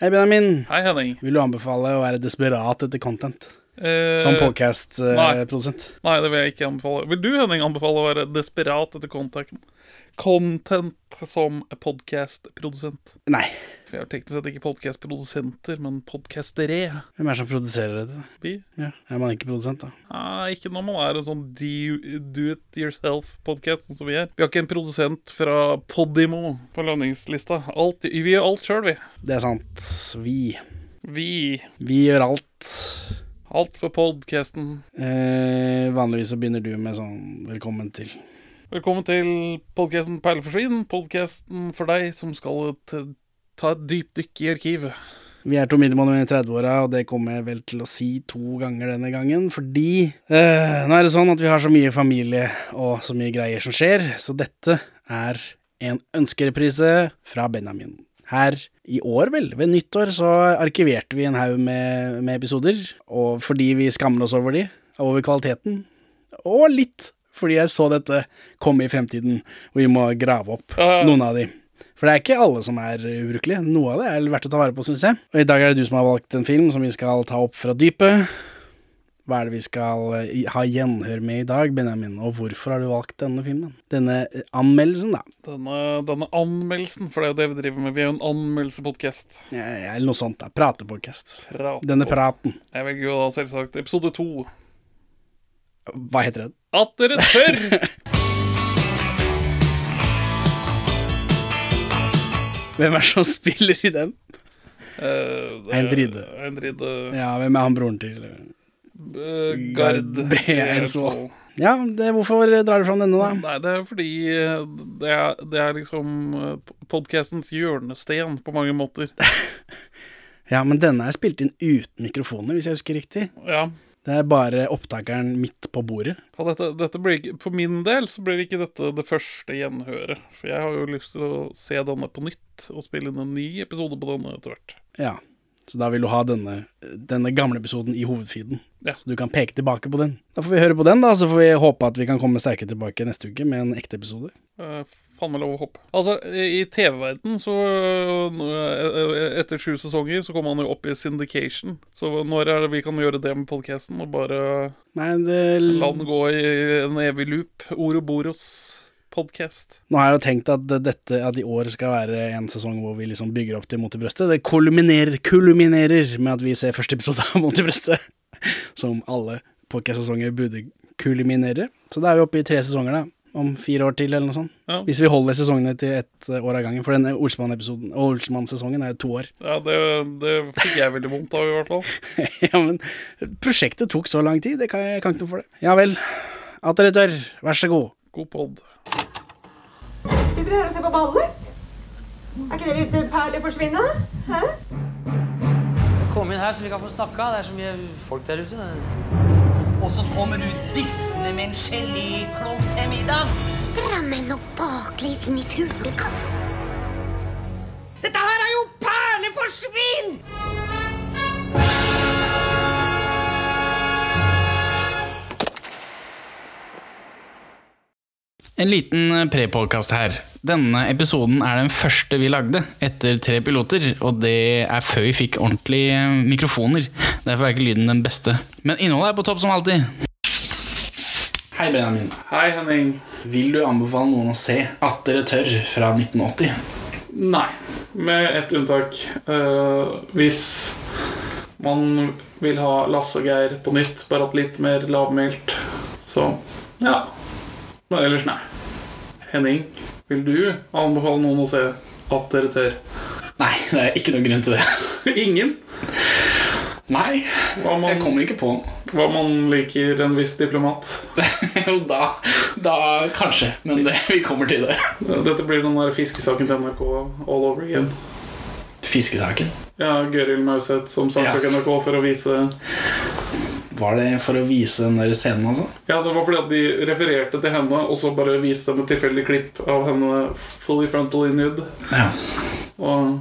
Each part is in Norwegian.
Hei, Benjamin. Hei, Henning. Vil du anbefale å være desperat etter content Eh, som nei. podcast-produsent? Nei, det vil jeg ikke anbefale. Vil du, Henning, anbefale å være desperat etter contacten? Content som podcast-produsent. Nei. For jeg er jo teknisk sett ikke podcast-produsenter, men podcastere. Hvem er det som produserer dette? Vi. Ja, er man ikke produsent, da? Nei, ikke når man er en sånn do-it-yourself-podkast, som vi er. Vi har ikke en produsent fra Podimo på lønningslista. Alt, vi gjør alt sjøl, vi. Det er sant. Vi. Vi. Vi gjør alt. Alt for podkasten. Eh, vanligvis så begynner du med sånn 'velkommen til'. Velkommen til podkasten Perleforsvin. Podkasten for deg som skal t- ta et dypdykk i arkivet. Vi er to middelmåneder i 30-åra, og det kommer jeg vel til å si to ganger denne gangen, fordi eh, nå er det sånn at vi har så mye familie og så mye greier som skjer, så dette er en ønskereprise fra Benjamin. Her i år, vel, ved nyttår, så arkiverte vi en haug med, med episoder, og fordi vi skammer oss over de, over kvaliteten, og litt fordi jeg så dette komme i fremtiden, og vi må grave opp Ja, ja. noen av de. For det er ikke alle som er ubrukelige. Noe av det er verdt å ta vare på, syns jeg. Og i dag er det du som har valgt en film som vi skal ta opp fra dypet. Hva er det vi skal eh, i- ha gjenhør med i dag, Benjamin? Og hvorfor har du valgt denne filmen? Denne eh, anmeldelsen, da. Denne, denne anmeldelsen, for det er jo det vi driver med. Vi er jo en anmeldelsepodkast. Eh, Eller noe sånt, da. Pratepodkast. Denne praten. Jeg velger jo da selvsagt episode to. Hva heter den? At dere tør! Hvem er det som spiller i den? Eh, det er- Endrid. Endrid eh, Ja, hvem er han broren til? eh, Gard Gard Eidsvoll. Ja, det, hvorfor drar du fram denne, da? Nei, det er fordi eh, det er, det er liksom podkastens hjørnesten på mange måter. Ja, men denne er spilt inn uten mikrofoner, hvis jeg husker riktig. Ja. Det er bare opptakeren midt på bordet. Og dette, dette blir ikke, for min del så blir ikke dette det første gjenhøret. For jeg har jo lyst til å se denne på nytt, og spille inn en ny episode på denne etter hvert. Ja, så da vil du ha denne, denne gamle episoden i hovedfeeden. Ja. Så du kan peke tilbake på den. Da får vi høre på den, da, så får vi håpe at vi kan komme sterkere tilbake neste uke med en ekte episode. Eh, Faen meg lov å hoppe. Altså, i i TV-verden så eh, Etter sju sesonger så kommer han jo opp i syndication. Så når er det vi kan gjøre det med podkasten, og bare Nei, det la den gå i en evig loop? Oroboros podkast. Nå har jeg jo tenkt at dette At i år skal være en sesong hvor vi liksom bygger opp til Mot i brøstet. Det kulminerer, kulminerer med at vi ser første episode av Mot i brøstet. Som alle podcast-sesonger burde kulminere. Så da er vi oppe i tre sesonger, da. Om fire år til, eller noe sånt. Ja. Hvis vi holder sesongene til ett eh, år av gangen. For denne Olsmann-episoden og Olsmann-sesongen er jo to år. Ja, det, det fikk jeg veldig vondt av, i hvert fall. ja, men prosjektet tok så lang tid. Det kan jeg, jeg kan ikke noe for det. Ja vel. At dere tør. Vær så god. God pod. Sitter dere her og ser på ballet? Er ikke det litt perler forsvinne? Hæ? Kom inn her, så vi kan få snakka. Det er så mye folk der ute. Og så kommer du dissende med en geléklump til middag. Ramme noe baklengs inn i fuglekassen. En liten prepodkast her. Denne episoden er den første vi lagde etter tre piloter, og det er før vi fikk ordentlige mikrofoner. Derfor er ikke lyden den beste. Men innholdet er på topp som alltid. Hei, Benjamin. Hei, Henning. Vil du anbefale noen å se At dere tør fra 1980? Nei, med ett unntak. Eh, hvis man vil ha Lasse og Geir på nytt, bare at litt mer lavmælt, så ja. Men ellers, nei. Henning, vil du anbefale noen å se At dere tør? Nei, det er ikke noen grunn til det. Ingen? Nei, Hva jeg man, kommer ikke på noe. hva man liker en viss diplomat. Jo, da, da kanskje, men det, vi kommer til det. Eh, Dette blir den der fiskesaken til NRK all over again. Fiskesaken. Ja, Gøril Mauseth som saksøker NRK for å vise Var det for å vise den der scenen, altså? Ja, det var fordi at de refererte til henne, og så bare viste dem et tilfeldig klipp av henne fully frontal in nude. Ja. Og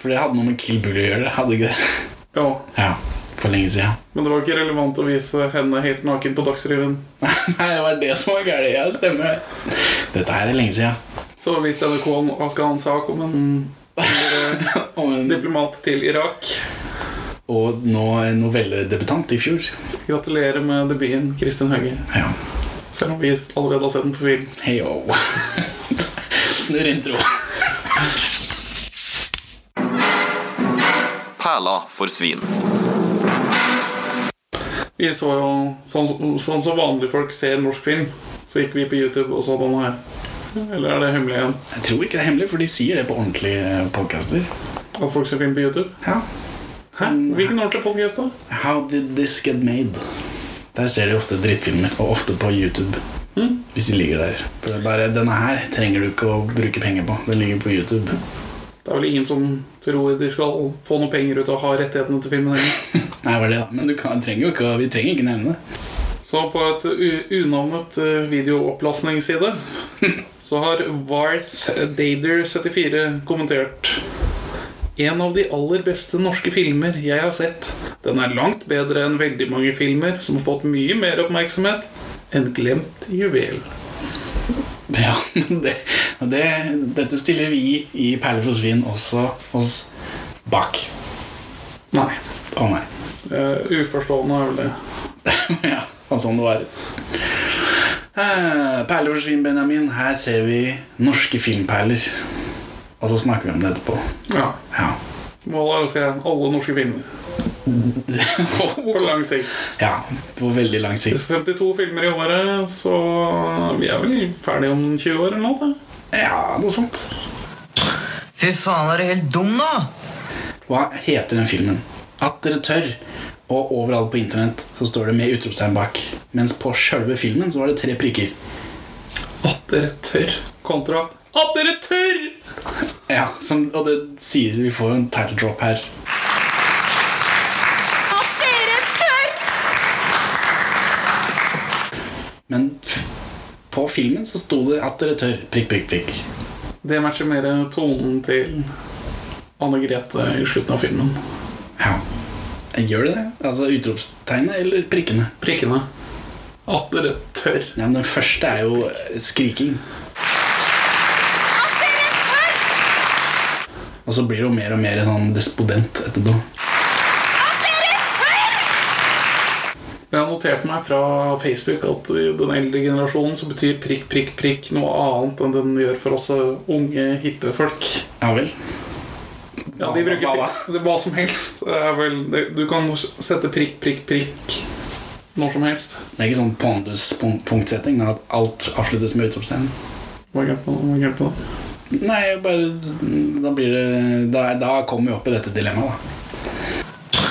For det hadde noe med Kill Bull å gjøre, hadde ikke det? ja. Ja, for lenge siden. Men det var ikke relevant å vise henne helt naken på Dagsrevyen. Nei, det var det som var gærent. Ja, stemmer. Dette her er lenge siden. Mm. Så viste NRK en- ikke en sak om en Og en, Diplomat til Irak. og nå en novelledebutant i fjor. Gratulerer med debuten, Kristin Høge. Ja. Selv om vi allerede har sett den på film. Heyo. Snurr intro. Perla for svin. Vi så jo, sånn, sånn som vanlige folk ser norsk film, så gikk vi på YouTube og så den her. Eller er det hemmelig igjen? Jeg tror ikke det er hemmelig, for de sier det på ordentlige eh, podcaster. At folk ser film på YouTube? Ja. Hæ? Hvilken ordentlig podcast da? How did this get made? Der ser de ofte drittfilmer, og ofte på YouTube. Hvis de ligger der. For det er bare, Denne her trenger du ikke å bruke penger på. Den ligger på YouTube. Det er vel ingen som tror de skal få noe penger ut av å ha rettighetene til filmen heller. Nei, var det da. Men du kan, trenger jo ikke, å- vi trenger ikke nevne det. Så på et u- unavnet eh, videoopplastingsside så har Varth Dader74 kommentert En av de aller beste norske filmer jeg har sett. Den er langt bedre enn veldig mange filmer som har fått mye mer oppmerksomhet enn Glemt juvel. Ja, men det, og det, dette stiller vi i Perler for svin også oss bak. Nei. Å nei. eh, uforstående er vel det. ja, det var sånn det var. Eh, Perler for svin, Benjamin. Her ser vi norske filmperler. Og så snakker vi om det etterpå. Ja. Ja. Målet er å se alle norske filmer på lang sikt. ja, på veldig lang sikt. 52 filmer i året, så vi er vel ferdige om 20 år eller noe. da. Ja, noe sånt. Fy faen, er du helt dum nå? Hva heter den filmen? At dere tør. Og overalt på internett så står det med utropstegn bak. Mens på sjølve filmen så var det tre prikker. At dere tør kontra At dere tør! Ja, som, Og det sies vi får en title drop her. At dere tør! Men f- på filmen så sto det 'At dere tør'. Prikk, prikk, prikk. Det matcher mer tonen til Anne Grete i slutten av filmen. Ja. Gjør det det? Altså utropstegnet eller prikkene? Prikkene. At dere tør. Ja, men Den første er jo eh, skriking. Og så blir det jo mer og mer sånn despodent etterpå. Jeg har notert meg fra Facebook at i den eldre generasjonen så betyr prikk, prikk, prikk noe annet enn den gjør for oss eh, unge, hippe folk. Ja vel. Ja, de Hva- bruker hva prikk. da? Det er hva som helst. Det er vel, det, du kan sette prikk, prikk, prikk når som helst. Det er ikke sånn pondus-punktsetting at alt avsluttes med utropstegn. Hva er greit med det? Hva er greit med det? Nei, bare mm, Da blir det Da, da kommer vi opp i dette dilemmaet, da.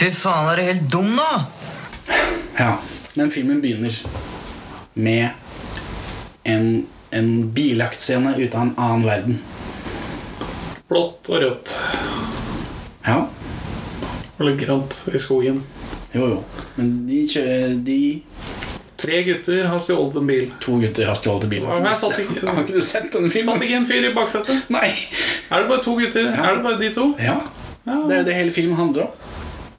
Fy faen, er du helt dum nå? Ja. Men filmen begynner med en, en biljaktscene ut av en annen verden. Blått og rødt. Ja. Eller grønt i skogen. Jo, jo. Men de kjører De Tre gutter har stjålet en bil. to gutter har stjålet bilen. Ja, men jeg satt ikke- Har ikke du sett denne Satt filmen? ikke en fyr i baksetet? Nei. Er det bare to gutter? Er det bare de to? Ja. Ja, Det er jo det hele filmen handler om.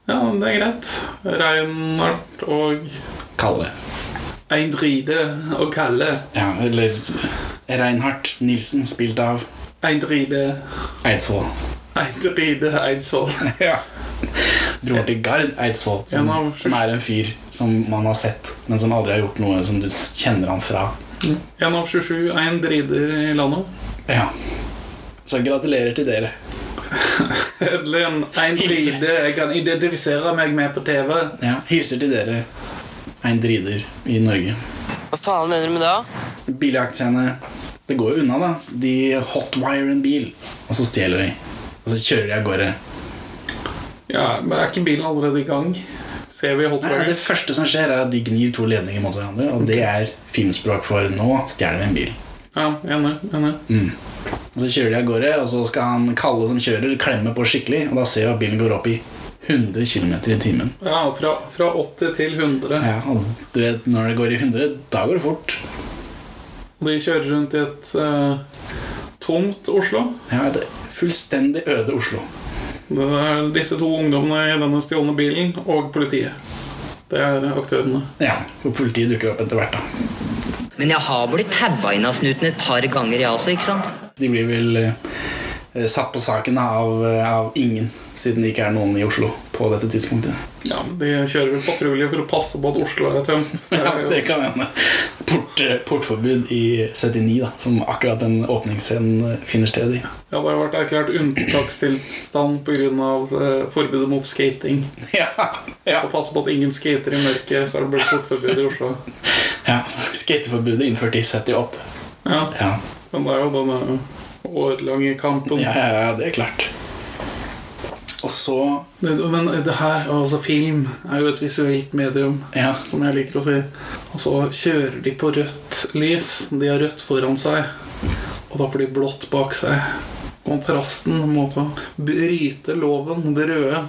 ja det er greit. Reinhardt og Kalle. Eindride og Kalle. Ja, eller Reinhardt Nilsen, spilt av Eindride, Eidsvoll. Eindride Eidsvoll. Ja. Broren til Gard Eidsvoll, som, En av- som er en fyr som man har sett, men som aldri har gjort noe som du s- kjenner han fra. En av 27 eindrider i landet. Ja. Så gratulerer til dere. Endelig en eindride jeg kan identifisere meg med på TV. Ja, Hilser til dere, en drider i Norge. Hva faen mener du med det? da? Biljaktscene. Det går jo unna, da. De hotwirer en bil, og så stjeler de. Og så kjører de av gårde. Ja, men Er ikke bilen allerede i gang? Ser vi Nei, Hotwire? det første som skjer, er at de gnir to ledninger mot hverandre, og det er filmspråk for 'nå stjeler vi en bil'. Ja, enig. enig. Og Så kjører de av gårde, og så skal han Kalle som kjører, klemme på skikkelig. Og da ser vi at bilen går opp i 100 km i timen. Ja, fra, fra 80 til 100. Ja, og du vet, når det går i 100, da går det fort. De kjører rundt i et eh, tomt Oslo. Ja, det er Fullstendig øde Oslo. Det er disse to ungdommene i denne stjålne bilen og politiet. Det er aktørene. Ja, Hvor politiet dukker opp etter hvert. da Men jeg har blitt taua inn av snuten et par ganger, jeg også, ikke sant? De blir vel eh, eh, satt på saken av, eh, av ingen, siden det ikke er noen i Oslo på dette tidspunktet. Ja, men De kjører vel patrulje for å passe på at Oslo er tømt. Ja, det kan hende. Port, eh, portforbud i 79, da, som akkurat den åpningsscenen eh, finner sted i. Ja, det har vært erklært unntakstilstand pga. Eh, forbudet mot skating. Ja, ja. Og passe på at ingen skater i mørket, så er det blitt portforbud i Oslo. ja. Skateforbudet innført i 78. Ja, Ja. Men det er jo denne årelange kampen. Ja, ja, ja, det er klart. Og så Det, men det her, altså film, er jo et visuelt medium, Ja, som jeg liker å si. Og så kjører de på rødt lys. De har rødt foran seg, og da får de blått bak seg. Kontrasten mot å bryte loven, det røde,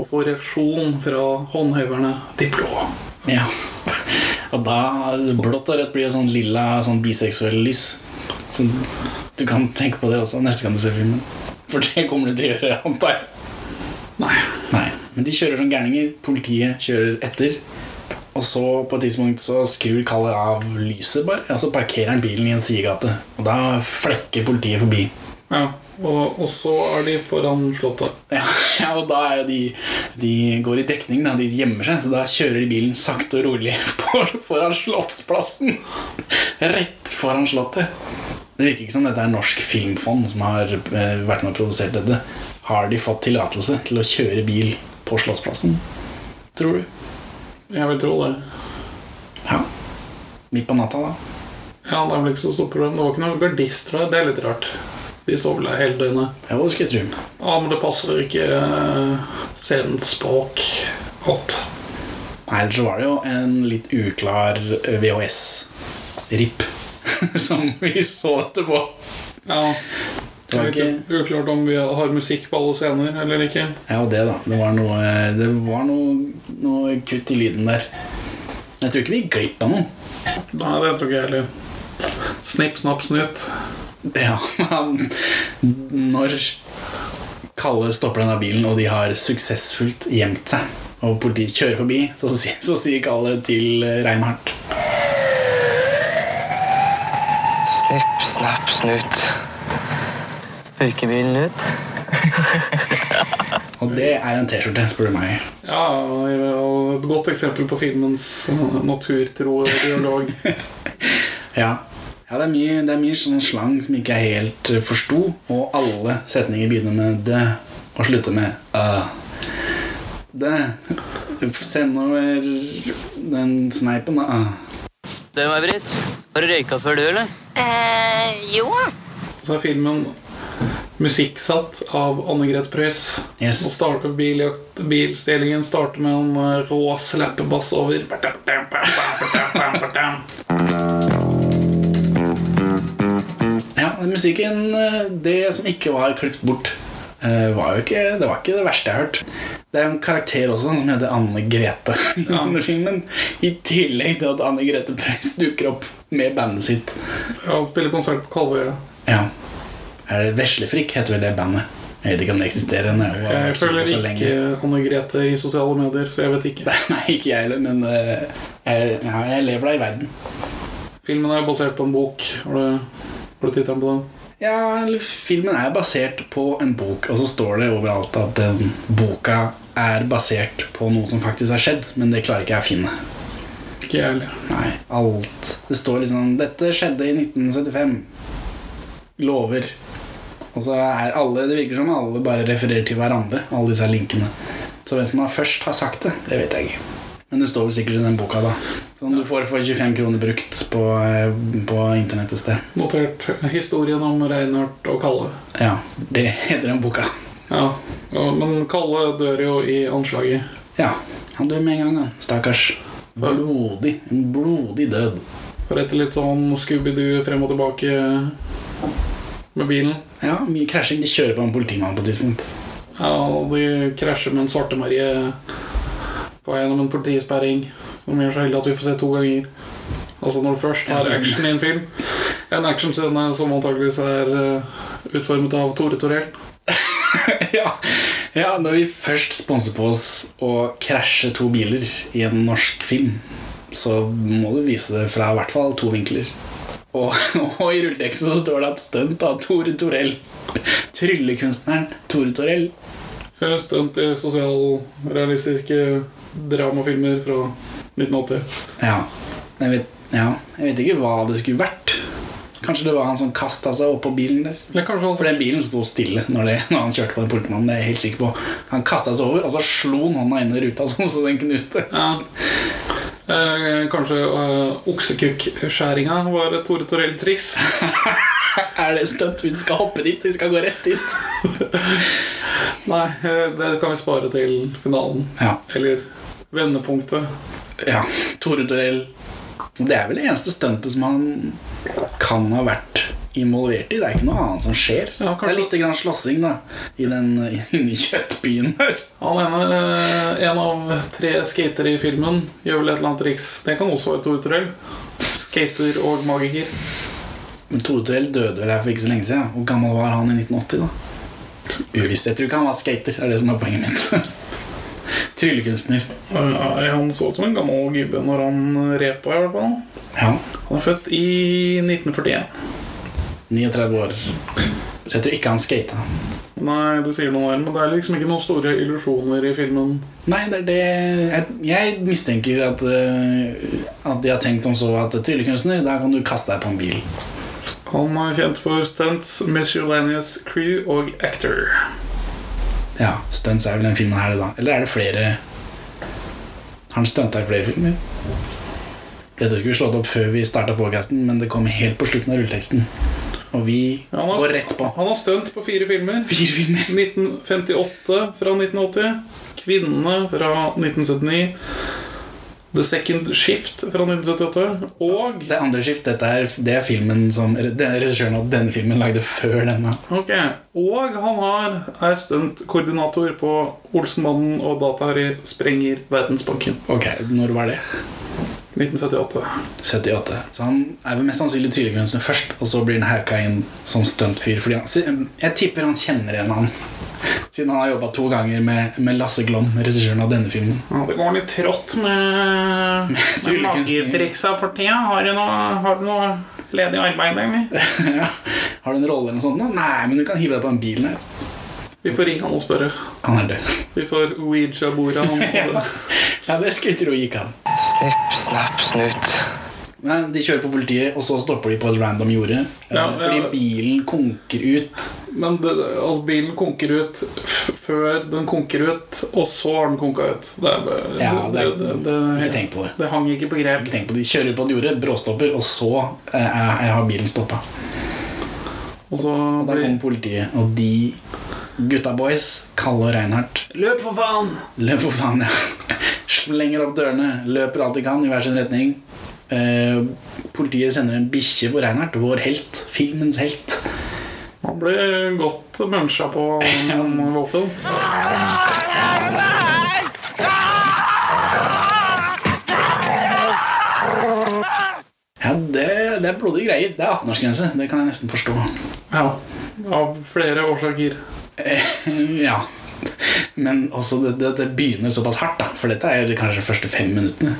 og få reaksjon fra håndheverne, de blå. ja. Og da blått og rødt blir jo sånn lilla sånn biseksuell lys. Så du kan tenke på det også neste gang du ser filmen. For det kommer du til å gjøre, antar jeg. Nei. Nei, men de kjører som gærninger. Politiet kjører etter. Og så på et tidspunkt så skrur Kalle av lyset, bare. Og så parkerer han bilen i en sidegate. Og da flekker politiet forbi. Ja, og, og så er de foran Slottet. Ja, ja, og da er jo de De går i dekning, da. De gjemmer seg. Så da kjører de bilen sakte og rolig på- foran Slottsplassen. Rett foran Slottet. Det virker ikke som dette er Norsk Filmfond som har eh, vært med og produsert dette. Har de fått tillatelse til å kjøre bil på Slottsplassen? Tror du? Jeg vil tro det. Ja. Midt på natta, da. Ja, det er vel ikke så stort problem. Det var ikke noen gardister der. Det er litt rart. De sov vel der hele døgnet. Ja, det skulle jeg tro. Ja, men det passer ikke eh, scenens språk godt. Nei, Ellers så var det jo en litt uklar eh, VHS-ripp som vi så etterpå. Ja. Det var Det ikke er litt uklart om vi har musikk på alle scener eller ikke. Ja, og det, da. Det var noe, det var noe, noe kutt i lyden der. Jeg tror ikke vi gikk glipp av noe. Nei, det tror ikke jeg heller. Snipp, snapp, snutt. Ja, men når Kalle stopper denne bilen, og de har suksessfullt gjemt seg, og politiet kjører forbi, så, sier- så sier Kalle til Reinhardt Snipp, snapp, snut. Røyker bilen ut? Og det er en T-skjorte, spør du meg. Ja, og et godt eksempel på filmens eh, naturtro dialog. Ja. ja det er mye, det er mye sånn slang som ikke jeg helt eh, forsto, og alle setninger begynner med det og slutter med «øh». Det Send over den sneipen, da. Du, May-Britt. Har du røyka før, du, eller? Eh, jo. Så er filmen musikksatt av Anne Grete Preus. Yes. Nå starter biljakt, bilstillingen starter med en eh, rå slappebass over. Ja, musikken eh, Det som ikke var klippet bort, eh, var jo ikke, det var ikke det verste jeg har hørt. Det er en karakter også som heter Anne Grete i denne filmen. I tillegg til at Anne Grete Preus dukker opp med bandet sitt. Ja, spiller konsert på Kalvøya. Ja. Er det Veslefrikk heter vel det bandet? Jeg vet ikke om det eksisterer. den er jo- har Jeg vært så- følger så ikke lenge. Anne Grete i sosiale medier, så jeg vet ikke. Nei, ikke jeg heller, men eh, jeg, ja, jeg lever da i verden. Filmen er basert på en bok. Har du, har du tittelen på den? Ja, eller Filmen er basert på en bok, og så står det overalt at den boka er basert på noe som faktisk har skjedd, men det klarer ikke jeg å finne. Ikke jeg heller. Nei, alt. Det står liksom 'Dette skjedde i 1975'. Lover. Og så er alle Det virker som alle bare refererer til hverandre, alle disse linkene. Så hvem som har først har sagt det, det vet jeg ikke. Men det står vel sikkert i den boka, da. Som du får for 25 kroner brukt på, eh, på internett et sted. Notert historien om Reinhardt og Kalle. Ja, det heter den boka. Ja, ja, Men Kalle dør jo i anslaget. Ja, han dør med en gang, da. Stakkars. Blodig. En blodig død. For etter litt sånn Scooby-Doo frem og tilbake med bilen Ja, mye krasjing. De kjører på en politimann på et tidspunkt. Ja, og de krasjer med en Svarte-Marie på vei gjennom en politisperring. Som gjør så heldig at vi får se to ganger. Altså når du først har action i en film. En actionscene som antakeligvis er eh, utformet av Tore Torell. ja. ja, når vi først sponser på oss å krasje to biler i en norsk film, så må du vise det fra i hvert fall to vinkler. Og, og i rulleteksten så står det at stunt av Tore Torell. Tryllekunstneren Tore Torell. Eh, Stunt i sosialrealistiske dramafilmer fra 1980. Ja. Jeg vet, ja. jeg vet ikke hva det skulle vært. Kanskje det var han som kasta seg oppå bilen der. Eller kanskje han For den bilen sto stille når, det, når han kjørte på den politimannen. Det er jeg helt sikker på Han kasta seg over, og så slo han hånda inn i ruta sånn så den knuste. Ja. Eh, kanskje eh, oksekukk-skjæringa var et Tore Torell-triks. Er det stunt? Vi skal hoppe dit. Vi skal gå rett dit. Nei, eh, det kan vi spare til finalen. Ja. Eller vendepunktet. ja. Tore Torell. Det er vel det eneste stuntet som han kan ha vært involvert i. Det er ikke noe annet som skjer. Ja, det kanskje- er litt grann slåssing da i den inni kjøttbyen der. Han ene, eh, en av tre skatere i filmen, gjør vel et eller annet triks. Det kan også være Tore Torell. Skater og magiker. Men Tore Torell døde vel her for ikke så lenge siden. Hvor gammel var han i 1980, da? Uvisst. Jeg tror ikke han var skater. Det er det som er poenget mitt. Tryllekunstner. Eh, Han så ut som en gammel gubbe når han repa, i hvert fall. Ja. Han er født i 1941. 39 år. Så jeg tror ikke han skata. Nei, du sier noe der, men det er liksom ikke noen store illusjoner i filmen. Nei, det er det Jeg, jeg mistenker at, øh, at de har tenkt som så at tryllekunstner, da kan du kaste deg på en bil. Han er kjent for stunts, miscellaneous crew og actor. Ja, stunts er vel den filmen her, da. Eller er det flere Har han stunta i flere filmer? Dette skulle vi slått opp før vi starta podkasten, men det kom helt på slutten av rulleteksten. Og vi Ja, Han går har, rett på. han har stunt på fire filmer. Fire filmer. 1958 fra 1980, Kvinnene fra 1979, The Second Shift fra 1978 og Det er andre skift. Dette er, det er filmen som denne regissøren av denne filmen lagde før denne. Ok, Og han har, er stuntkoordinator på Olsenmannen og Dataharry sprenger Verdensbanken. Ok, når var det? 1978. 78. Så han er vel mest sannsynlig tryllekunstner først, og så blir han hauka inn som stuntfyr. Fordi han, si- jeg tipper han kjenner igjen han. Siden han har jobba to ganger med, med Lasse Glom, regissøren av denne filmen. Ja, det går litt trått med, med tryllekunsten. magitriksa for tida. Har du noe, har du noe ledig arbeid, eller? ja. Har du en rolle eller noe sånt? nå? Nei, men du kan hive deg på den bilen her. Vi får ringe han og spørre. Han er død. Vi får Ouija-bordet han hadde. Ja, det skulle jeg tro gikk an. Snipp, snapp, snut. Men de kjører på politiet, og så stopper de på et random jorde. eh, Ja, ja. Fordi bilen konker ut. Men det, altså, bilen konker ut f- før den konker ut, og så har den konka ut. Det, er, bare- Ja, det er- ikke det, tenk på det. det hang ikke på grep. Ikke tenk på det. De kjører på et jorde, bråstopper, og så eh, er- er- har bilen stoppa. Og så Og da blir kommer politiet, og de gutta boys, Kalle og Reinhardt, Løp, for faen! løper for faen, ja. Slenger opp dørene, løper alt de kan i hver sin retning. Eh, politiet sender en bikkje på Reinhardt, vår helt. Filmens helt. Han ble godt muncha på den vaffelen. Ja, det, det er blodige greier. Det er 18-årsgrense. Det kan jeg nesten forstå. Ja. Av flere årsaker. ja. Men også det, det, det begynner såpass hardt, da. For dette er jo kanskje de første fem minuttene.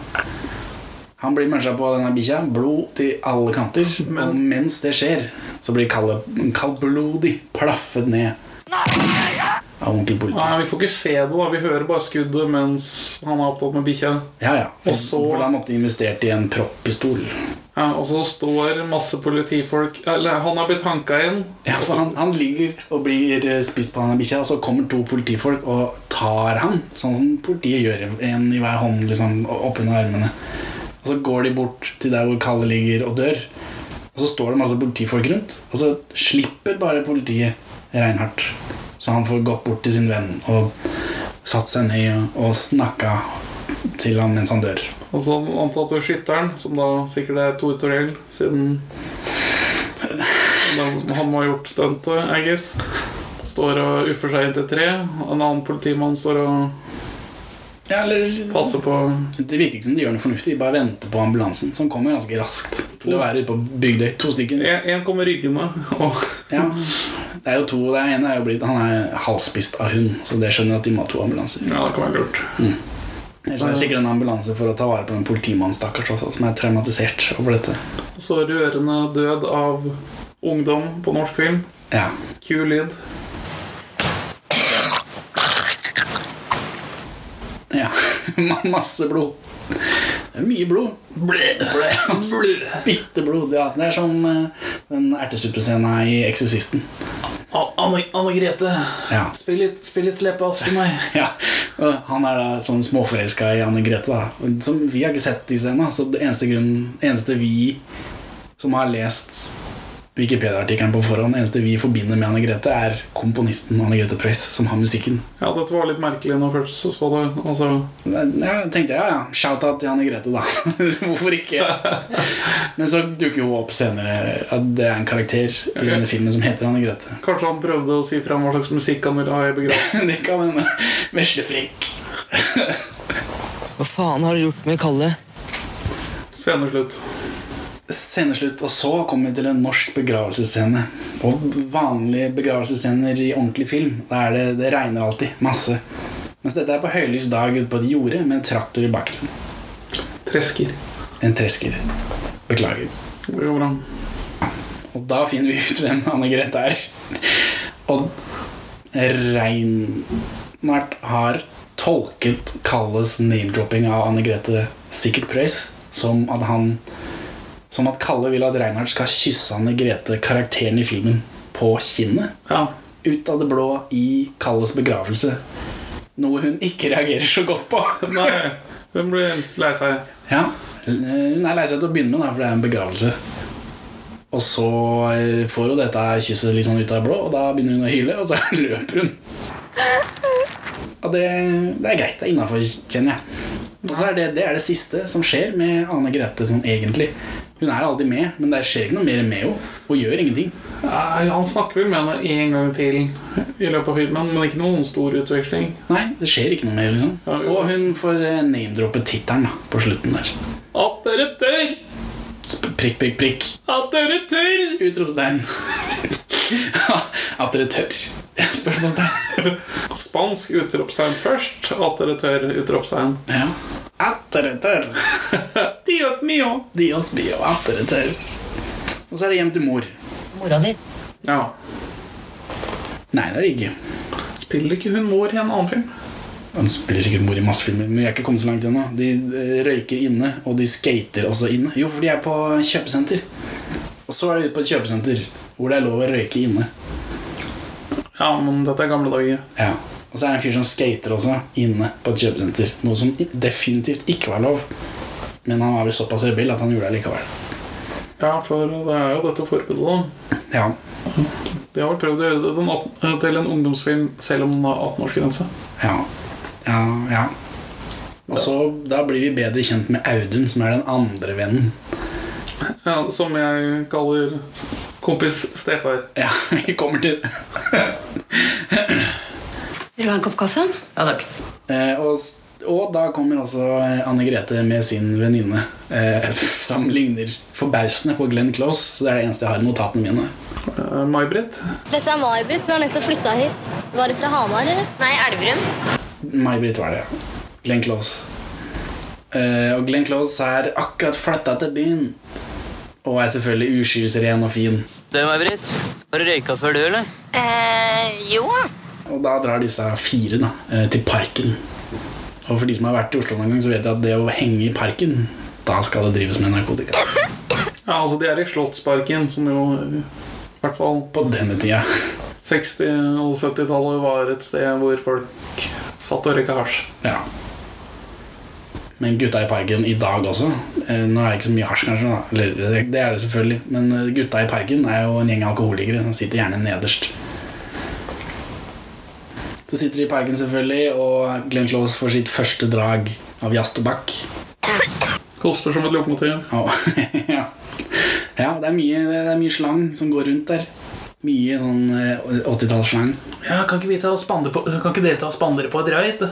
Han blir mørsa på denne bikkja. Blod til alle kanter. Og mens det skjer, så blir Kalle kaldblodig plaffet ned av onkel politi. Nei, Vi får ikke se det, da. Vi hører bare skuddet mens han er opptatt med bikkja. Ja, ja. For, Og så- for da måtte de investert i en proppistol. Ja, og så står masse politifolk Eller han har blitt hanka inn. Ja, for han, han ligger og blir eh, spist på denne bikkja, og så kommer to politifolk og tar han. Sånn som politiet gjør. En i hver hånd liksom, og oppunder armene. Og så går de bort til der hvor Kalle ligger og dør. Og så står det masse politifolk rundt, og så slipper bare politiet Reinhardt. Så han får gått bort til sin venn og satt seg ned og, og snakka til han mens han dør. Og så den antatte skytteren, som da sikkert er Tore Torell, siden Men han må ha gjort stuntet, I guess. Står og uffer seg inn til tre. En annen politimann står og Ja, eller passer på Det virker ikke som de gjør noe fornuftig. De bare venter på ambulansen, som kommer ganske raskt. Til å være ute på Bygdøy. To stykker. En en kommer ryggende, og Ja. Det er jo to. Det ene er jo blitt Han er halvspist av hund, så det skjønner jeg at de må ha to ambulanser. Ja, det kan være lurt. Ellers er det sikkert en ambulanse for å ta vare på den politimannen stakkars også, som er traumatisert over dette. Og så rørende død av ungdom på norsk film. Ja. Kul lyd. ja. Ma- Masse blod. Det er Mye blod. Blæ, Bitte blod. Ja, det er som eh, den ertesuppescena i 'Eksorsisten'. Anne, Grete, Ja. spill litt, spill litt Sleppeask for meg. Ja, og Han er da sånn småforelska i Anne Grete. da Som Vi har ikke sett de scenene. Så det eneste, grunnen, eneste vi som har lest Wikipedia-artikkelen på forhånd, eneste vi forbinder med Anne Grete, er komponisten Anne Grete Preus, som har musikken. Ja, dette var litt merkelig når jeg først så det. Altså, Jeg tenkte ja, ja, shout-out til Anne Grete, da. Hvorfor ikke? Men så dukker hun opp senere at det er en karakter i denne filmen som heter Anne Grete. kanskje han prøvde å si fram hva slags musikk han ville ha i begravelsen. Det kan hende. Veslefrekk. Hva faen har du gjort med Kalle? Sceneslutt. sceneslutt, og så kommer vi til en norsk begravelsesscene. Og vanlige begravelsesscener i ordentlig film, da er det, det regner alltid. Masse. Mens dette er på høylys dag ute på et jorde med en traktor i bakgrunnen. Tresker. En tresker. Beklager. Det går bra. Og da finner vi ut hvem Anne Grete er. Og Reinhardt har tolket Kalles name-dropping av Anne Grete sikkert Preus som at han Som at Kalle vil at Reinhardt skal kysse Anne Grete, karakteren i filmen, på kinnet. Ja. Ut av det blå i Kalles begravelse. Noe hun ikke reagerer så godt på. Nei, hun blir lei seg. Ja, Hun er lei seg til å begynne med, da, for det er en begravelse. Og så eh, får hun dette kysset litt sånn ut av det blå, og da begynner hun å hyle, og så løper hun. Og det, det er greit. Det er innafor, kjenner jeg. Og så er det, det er det siste som skjer med Anne Grete sånn egentlig. Hun er alltid med, men det skjer ikke noe mer med henne. Hun gjør ingenting. Nei, han snakker vel med henne en gang til i løpet av filmen, men ikke noen stor utveksling. Nei, det skjer ikke noe mer, liksom. Ja, jo. Og hun får eh, name-droppe tittelen da, på slutten der. At dere tør! Sp- Prikk, prikk, prikk. At dere tør! Utropstegn. At dere tør. Spørsmålstegn. Spansk utropstegn først. At dere tør, utropstegn. Ja. At dere tør. Dios mio! Dios bio, at dere tør. Og så er det hjem til mor. Mora di. Ja. Nei, det er det ikke. Spiller ikke hun mor i en annen film? Han spiller sikkert mor i masse filmer, men vi er ikke kommet så langt ennå. De eh, røyker inne, og de skater også inne. Jo, for de er på kjøpesenter. Og så er de ute på et kjøpesenter hvor det er lov å røyke inne. Ja, men dette er gamle dager. Ja. Og så er det en fyr som skater også, inne på et kjøpesenter. Noe som i- definitivt ikke var lov. Men han var vel såpass rebell at han gjorde det likevel. Ja, for det er jo dette forbudet, da. Ja. De har vel prøvd å gjøre det til en atten- eh, til en ungdomsfilm selv om den har 18-årsgrense. Ja. Ja, ja. Og så da blir vi bedre kjent med Audun, som er den andre vennen. Ja, som jeg kaller kompis Stefar. Ja, vi kommer til det. Vil du ha en kopp kaffe? Ja takk. Eh, og, s- og da kommer også eh, Anne Grete med sin venninne, eh, som ligner forbausende på Glenn Close. Så det er det eneste jeg har i notatene mine. Eh, May-Britt. Dette er May-Britt. Hun har nettopp flytta hit. Var det fra Hamar, eller? Nei, Elverum. May-Britt var det. Glenn Close. Eh, og Glenn Close er akkurat flytta til byen. Og er selvfølgelig uskyldsren og fin. Du, May-Britt. Har du røyka før, du, eller? Eh, jo. Og da drar disse fire da, eh, til parken. Og for de som har vært i Oslo noen gang, så vet jeg at det å henge i parken, da skal det drives med narkotika. Ja, altså de er i Slottsparken, som jo eh, i hvert fall På denne tida. 60- og 70-tallet var et sted hvor folk satt og røyka hasj. Ja. Men gutta i parken i dag også eh, Nå er det ikke så mye hasj, kanskje. Da. Eller, det- det er det selvfølgelig. Men eh, gutta i parken er jo en gjeng alkoholikere som sitter gjerne nederst. Så sitter de i parken, selvfølgelig, og Glenn Close får sitt første drag av jazz tobakk. Koster som et lokomotiv. Ja, ja. ja det, er mye, det er mye slang som går rundt der. Mye sånn eh, 80-tallsslang. Ja, kan ikke, vi ta og spandere på, kan ikke dere ta og spandere på et raid?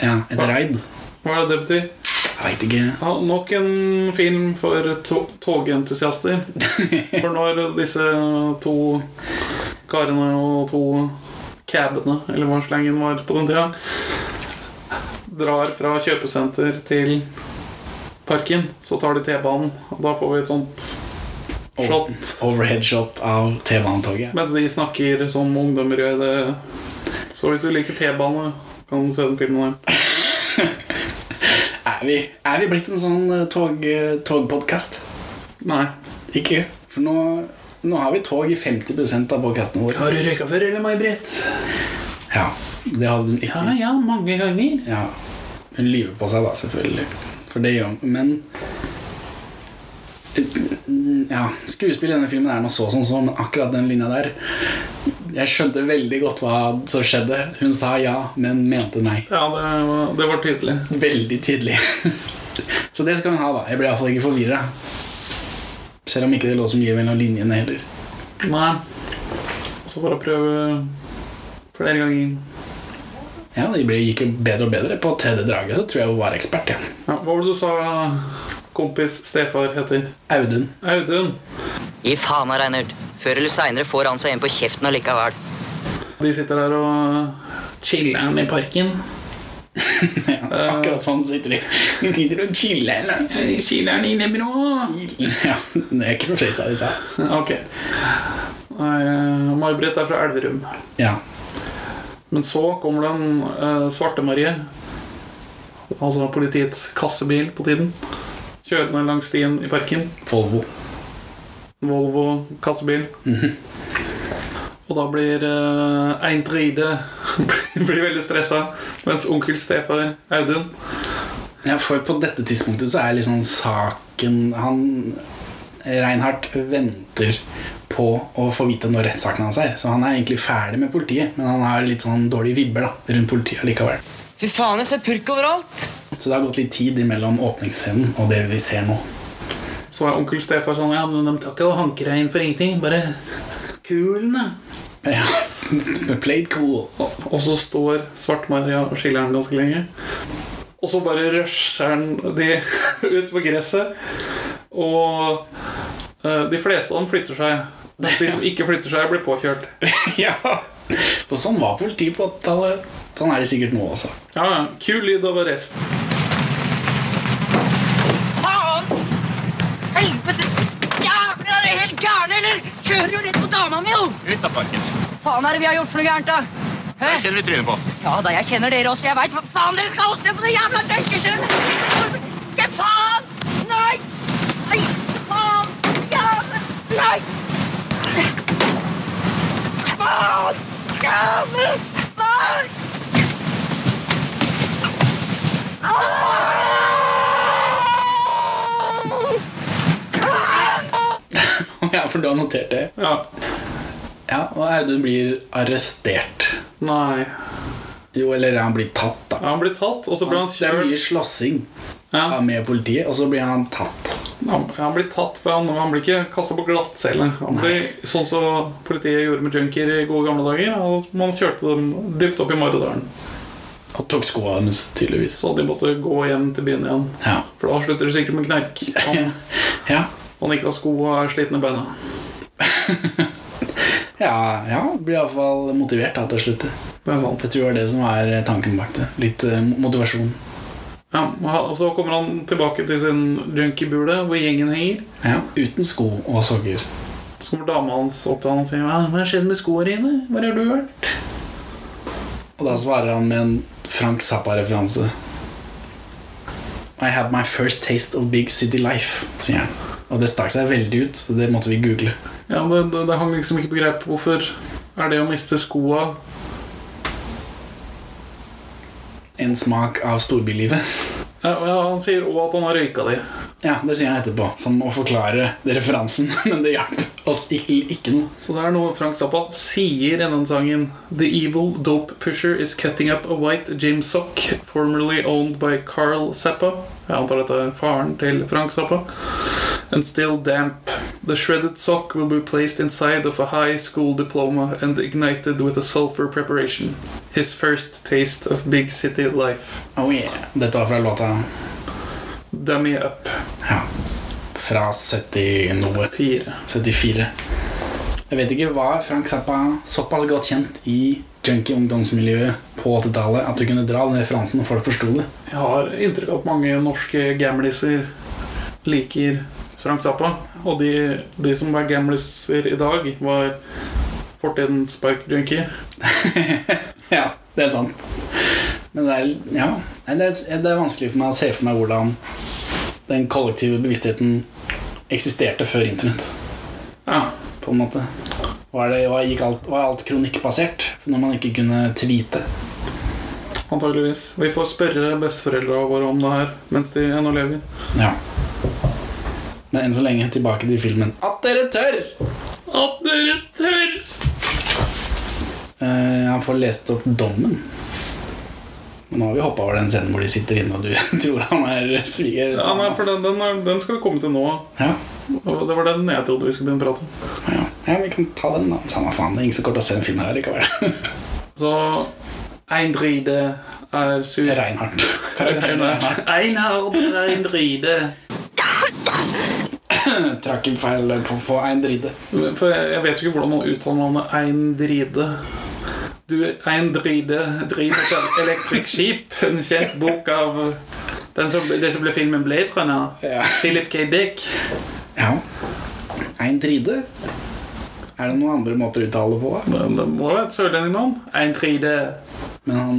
Ja, et raid. Hva er det det betyr? Jeg veit ikke. Ja, nok en film for to togentusiaster. For når disse to karene og to cabene, eller hva slangen var på den tida, drar fra kjøpesenter til parken, så tar de T-banen. og Da får vi et sånt shot Overheadshot av T-banetoget. mens de snakker som ungdommer gjør det. Så hvis du liker T-bane, kan du se den filmen der. Er, vi- er vi blitt en sånn eh, tog, eh, togpodcast? Nei. Ikke? For nå, nå har vi tog i 50 av podkastene våre. Har du røyka før, eller, May-Britt? Ja, Det hadde hun ikke. Ja, Ah, ja, mange ganger. Ja, Hun lyver på seg, da, selvfølgelig. For det gjør hun. Men eh, ja, Skuespillet i denne filmen er noe så sånn som men akkurat den linja der Jeg skjønte veldig godt hva som skjedde. Hun sa ja, men mente nei. Ja, det, var- det var tydelig. Veldig tydelig. Så det skal hun ha, da. Jeg ble iallfall ikke forvirra. Selv om ikke det lå så mye mellom linjene heller. Nei. Så bare prøve flere ganger. Ja, Det ble- gikk jo bedre og bedre. På tredje draget så tror jeg hun var ekspert. Ja. Ja, hva var det du sa kompis stefar heter? Audun. Audun. Gi faen av Reinert. Før eller seinere får han seg en på kjeften allikevel. De sitter der og chiller'n i parken. Ja, akkurat sånn sitter de. De sitter og chiller. eller? Chiller'n inne, bro. Ja, det er ikke på FaceTime, de sa. Ok. Nei, eh, May-Britt er fra Elverum. Ja. Men så kommer den eh, svarte Marie, altså politiets kassebil på tiden, kjørende langs stien i parken. Volvo. Volvo kassebil. Og da blir uh, Eintride blir veldig stressa, mens onkel Stefar Audun Ja, for på dette tidspunktet så er liksom saken Han Reinhardt venter på å få vite når rettssaken hans er. Så han er egentlig ferdig med politiet, men han har litt sånn dårlige vibber da, rundt politiet likevel. Fy faen, jeg ser purk overalt! Så det har gått litt tid imellom åpningsscenen og det vi ser nå. Så er onkel Stefar sånn Ja, men de tar ikke og hanker deg inn for ingenting. Bare kulen, da. Ja, Played cool. Og, og så står Svart-Maria og skiller han ganske lenge. Og så bare rusher han de ut på gresset. Og eh, de fleste av dem flytter seg. Mens De som ikke flytter seg, blir påkjørt. Ja. For sånn var politiet på 80-tallet. Sånn er det sikkert nå også. Ja, ja. Kul lyd av arrest. Faen! Helvete! Jævler, er dere helt gærne, eller? Kjører jo litt på dama mi, jo! Ut av parken. Faen er det vi har gjort for noe gærent, da? Der kjenner vi trynet på. Ja da, jeg kjenner dere også. Jeg veit hva faen dere skal åsne på det jævla døkkeskjønnet! Ikke faen! Nei! Nei! Faen! Jævla Nei! Faen! Jævla Nei! Ah! Ja, for du har notert det. Ja. Ja, Og Audun blir arrestert. Nei. Jo, eller han blir tatt, da. Ja, han blir tatt, og så blir han Det er mye kjørt. slåssing Ja, med politiet, og så blir han tatt. han, han blir tatt, for han, han blir ikke kasta på glattcelle. Han blir sånn som politiet gjorde med junkier i gode gamle dager. Og man kjørte dem dypt opp i Maridalen. Og tok skoa hennes, tydeligvis. Så de måtte gå hjem til byen igjen. Ja. For da slutter det sikkert med knerk. Om Ja. man ikke har sko og er sliten i beina. ja, ja. Blir iallfall motivert da, til å slutte. Det er sant. Jeg tror det var det som var tanken bak det. Litt eh, motivasjon. Ja, og så kommer han tilbake til sin junkiebule, hvor gjengen henger. Ja, Uten sko og sokker. Så kommer dama hans opp til han og sier Hva hva har skjedd med skoene dine? Hvor har du vært? Og da svarer han med en Frank Zappa-referanse. I had my first taste of big city life, sier han. Og det stakk seg veldig ut, så det måtte vi google. Ja, men det, det, det hang liksom ikke på greip. Hvorfor er det å miste skoa En smak av storbylivet. ja, og ja, Han sier òg at han har røyka de. Ja, det sier han etterpå, som å forklare det referansen, men det hjalp oss ikke, ikke noe. Så det er noe Frank Zappa sier i den sangen. The evil dope pusher is cutting up a white gym sock formerly owned by Carl Zappa. Jeg antar dette er faren til Frank Zappa. And still damp. The shredded sock will be placed inside of a high school diploma and ignited with a sulfur preparation. His first taste of big city life. Oh yeah. Dette var fra låta Dummy up. ja, fra 70 noe. Fire. 74. Jeg vet ikke, var Frank Zappa såpass godt kjent i junkie ungdomsmiljøet på 80-tallet at du kunne dra den referansen og folk forsto det? Jeg har inntrykk av at mange norske gamliser liker Strømstappa. Og de, de som var gamliser i dag, var fortidens sparkdrinker. Ja, det er sant. Men det er, ja, nei, det er, det er vanskelig for meg å se for meg hvordan den kollektive bevisstheten eksisterte før internett. Ja. på en måte. Var, det, var, gikk alt, var alt kronikkbasert når man ikke kunne tweete? Antageligvis. Vi får spørre besteforeldra våre om det her mens de ennå lever. Ja. Men enn så lenge tilbake til filmen. Ah, At dere tør! At dere tør! Eh, han får lest opp dommen. Men nå har vi hoppa over den scenen hvor de sitter inne, og du tror han er sviger. altså. Ja, nei, for den, den, er, den skal vi komme til nå. ja. Og Det var den jeg trodde vi skulle begynne å prate om. Ja, ja, vi kan ta den, da. Samme faen, det er ingen som kommer til å se den filmen her likevel. Så Eindride er sur. Reinhardt. Karakteren Reinhardt Einhard Eindride. trakk en feil på å få en drite. For jeg, jeg vet jo ikke hvordan man uttaler navnet Eindride. Du, Eindride drives av Electric Sheep, en kjent bok av den som, det som ble filmen Blade Runner. Ja. Philip K. Dick. ja. En drite? Er det noen andre måter å uttale det på? da? Men det må være et sørlendingnavn. Eindride. Men han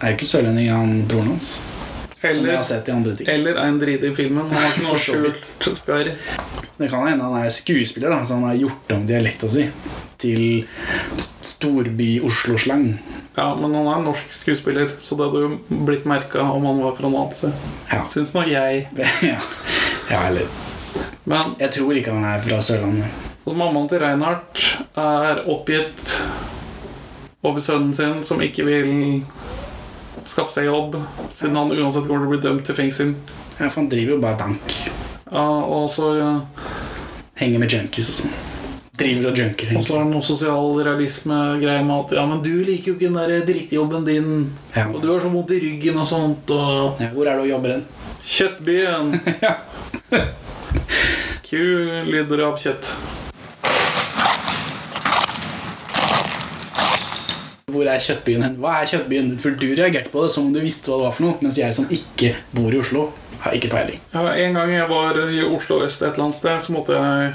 er jo ikke sørlending, han broren hans. Som vi har Eller, sett i andre ting. eller Eindride i filmen. Han har ikke For noe så skjult skarr. Det kan hende han er skuespiller, da, så han har gjort om dialekta si til storby-Oslo-slang. Ja, men han er en norsk skuespiller, så det hadde jo blitt merka om han var fra noe annet sted. Ja. Syns nå jeg. ja. ja, eller Men Jeg tror ikke han er fra Sørlandet. så mammaen til Reinhardt er oppgitt over sønnen sin, som ikke vil skaffe seg jobb, siden han uansett kommer til å bli dømt til fengsel. Ja, for han driver jo bare dank. Ja, og så ja, Henger med junkies og sånn. Driver og junker. og så egentlig. er det noe sosial realisme-greie med at Ja, men du liker jo ikke den der drittjobben din, Ja. og du har så vondt i ryggen og sånt, og Ja, hvor er det å jobbe den? Kjøttbyen! Ku lyder av kjøtt. Hvor er Kjøttbyen hen? Hva er Kjøttbyen? For du reagerte på det som om du visste hva det var for noe, mens jeg som ikke bor i Oslo, har ikke peiling. Ja, en gang jeg var i Oslo øst et eller annet sted, så måtte jeg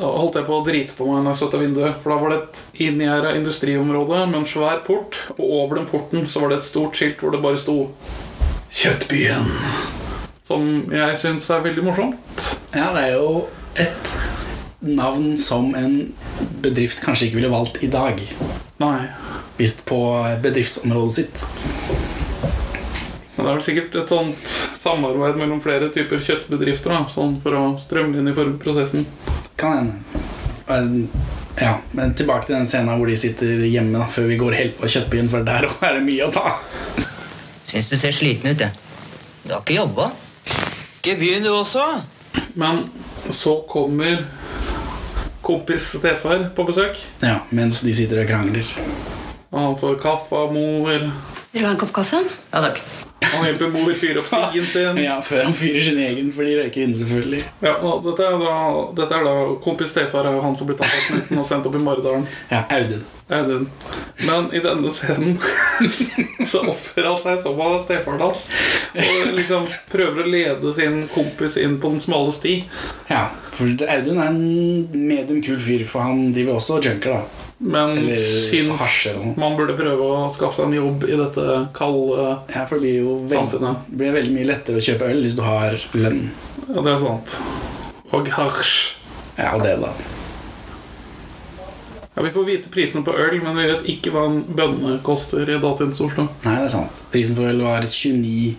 holdt jeg på å drite på meg når jeg støtte vinduet. For da var det et inngjerda industriområde med en svær port, og over den porten så var det et stort skilt hvor det bare sto 'Kjøttbyen'. Som jeg syns er veldig morsomt. Ja, det er jo et navn som en bedrift kanskje ikke ville valgt i dag. Nei. Hvis på bedriftsområdet sitt. Men det er vel sikkert et sånt samarbeid mellom flere typer kjøttbedrifter, da, sånn for å strømlinjeforme prosessen. Kan hende. Men- Ja, men tilbake til den scenen hvor de sitter hjemme da, før vi går helt på Kjøttbyen, for der også er det mye å ta. Syns du ser sliten ut, jeg. Du har ikke jobba? Ikke begynn, du også. Men så kommer kompis Stefar på besøk. Ja, Mens de sitter og krangler. Og han får kaffe av mor. Vil du ha en kopp kaffe? Ja takk. Han hjelper mor fyre opp stigen sin. Ja, Før han fyrer sin egen, for de røyker inne, selvfølgelig. Ja, og dette, er da, dette er da kompis Stefar er jo han som ble tatt av smitten og sendt opp i Maridalen. Ja, Audun. Audun. Men i denne scenen så oppfører han seg som han er stefaren hans. Og liksom prøver å lede sin kompis inn på den smale sti. Ja, for Audun er en medium kul fyr, for han driver også og junker, da. Men Eller hasj eller noe. syns man burde prøve å skaffe seg en jobb i dette kalde Ja, for det blir jo veld samfunnet. blir veldig mye lettere å kjøpe øl hvis du har lønn. Ja, det er sant. Og hasj. Ja, og det, da. Ja, Vi får vite prisene på øl, men vi vet ikke hva en bønne koster i datidens Oslo. Nei, det er sant. Prisen for øl var 29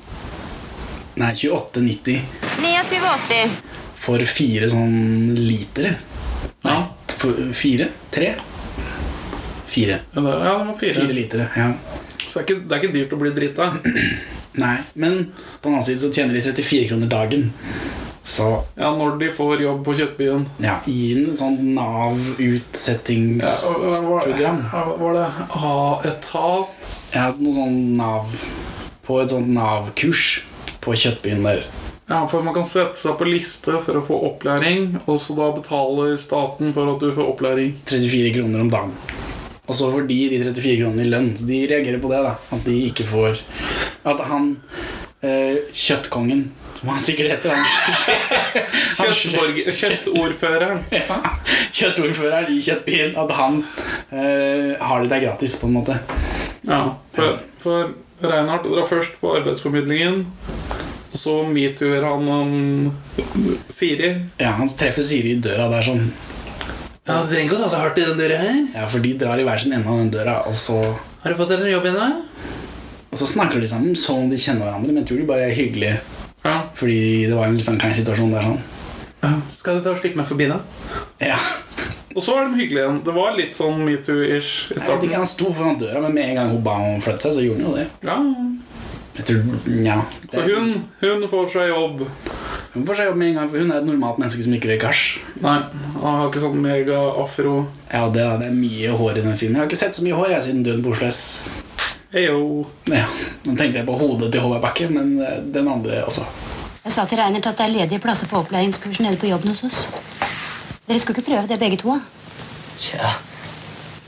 Nei, 28,90 29,80. for fire sånn litere. Ja, For fire? Tre? Fire. ja, det, ja det var fire. Fire litere, ja. Så det er, ikke, det er ikke dyrt å bli drita. Nei, men på den annen side så tjener de 34 kroner dagen. Så Ja, når de får jobb på Kjøttbyen. ja, i en sånn Nav-utsettings... Ja, og- og- var, Program. ja, var det A-etat? Jeg har hatt noe sånn Nav på et sånt Nav-kurs på Kjøttbyen der. Ja, for man kan sette seg på liste for å få opplæring, og så da betaler staten for at du får opplæring. 34 kroner om dagen. Og så får de de 34 kronene i lønn. Så De reagerer på det, da. At de ikke får At han eh, kjøttkongen Som han sikkert heter. Han, han- Kjøttborger- Kjøttordføreren. ja, kjøttordføreren i kjøttbyen. At han eh, har det der gratis, på en måte. Ja, for, for Reinhardt drar først på arbeidsformidlingen. Og så metoo-er han om Siri. Ja, Han treffer Siri i døra der sånn. Ja, Du trenger ikke å ta så hardt i den døra her. Ja, For de drar i hver sin ende av den døra, og så, Har du fått deg en jobb ennå? og så snakker de sammen som om de kjenner hverandre. Men jeg tror de bare er hyggelige. Ja. Fordi det var en litt sånn klein situasjon der sånn. Skal du ta og stikke meg forbi, da? Ja, Og så er de hyggelige igjen. Det var litt sånn metoo-ish i jeg vet starten. ikke, altså. Han sto foran døra, men med en gang hun ba om å flytte seg, så gjorde han jo det. Ja. Jeg tror, ja Og det, hun, hun får seg jobb. Hun får seg jobb med en gang, for hun er et normalt menneske som ikke røyker hasj. Nei, han har ikke sånn mega-afro. Ja, det, er- det er mye hår i den filmen. Jeg har ikke sett så mye hår jeg siden Døden på Oslo S. Eyo. Ja, nå tenkte jeg på hodet til Håvard Bakke, men eh, den andre også. Jeg sa til Reinert at det er ledige plasser på opplæringskurs nede på jobben hos oss. Dere skulle ikke prøve det, begge to? Tja,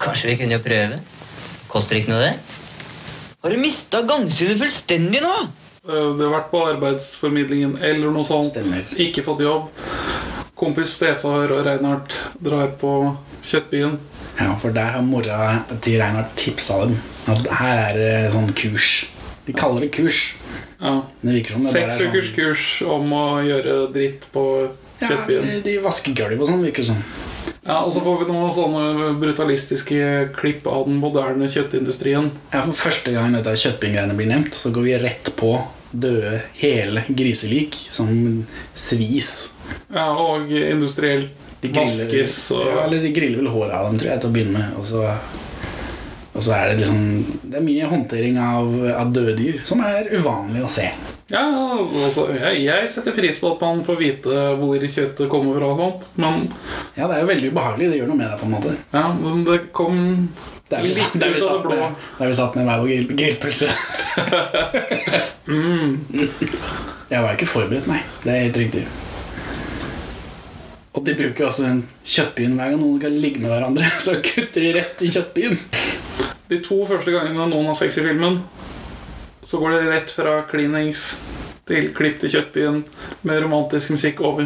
kanskje vi kunne jo prøve. Koster ikke noe, det. Har du mista gangsynet fullstendig nå? Eh, Det har vært på arbeidsformidlingen eller noe sånt. Stemmer. Ikke fått jobb. Kompis Stefar og Reinhardt drar på Kjøttbyen. Ja, for der har mora til Reinhardt tipsa dem at her er det sånn kurs. De kaller det kurs. Ja. Men det virker som det Seks bare er ukers sånn kurs om å gjøre dritt på ja, Kjøttbyen. de vasker gulv og sånn, virker det som. Ja, og så får vi noen sånne brutalistiske klipp av den moderne kjøttindustrien. Ja, for første gang dette kjøttbinggreiene blir nevnt, så går vi rett på døde, hele griselik som svis. Ja, og industrielt De griller, vaskes og ja, eller de griller vel håret av dem, tror jeg, til å begynne med. Og så, og så er det liksom Det er mye håndtering av, av døde dyr som er uvanlig å se. Ja, altså, jeg, jeg setter pris på at man får vite hvor kjøttet kommer fra og sånt, men Ja, det er jo veldig ubehagelig. Det gjør noe med deg, på en måte. ja, men det kom Det er vi, Litt det er vi, ut av satt, det blå. med, det er vi satt med hver vår grill- grillpølse. Mm. Jeg var ikke forberedt, nei. Det er helt riktig. Og de bruker jo altså den kjøttbyen hver gang noen skal ligge med hverandre. Så kutter de rett i kjøttbyen. De to første gangene noen har sex i filmen, så går det rett fra klinings til klipp til Kjøttbyen med romantisk musikk over.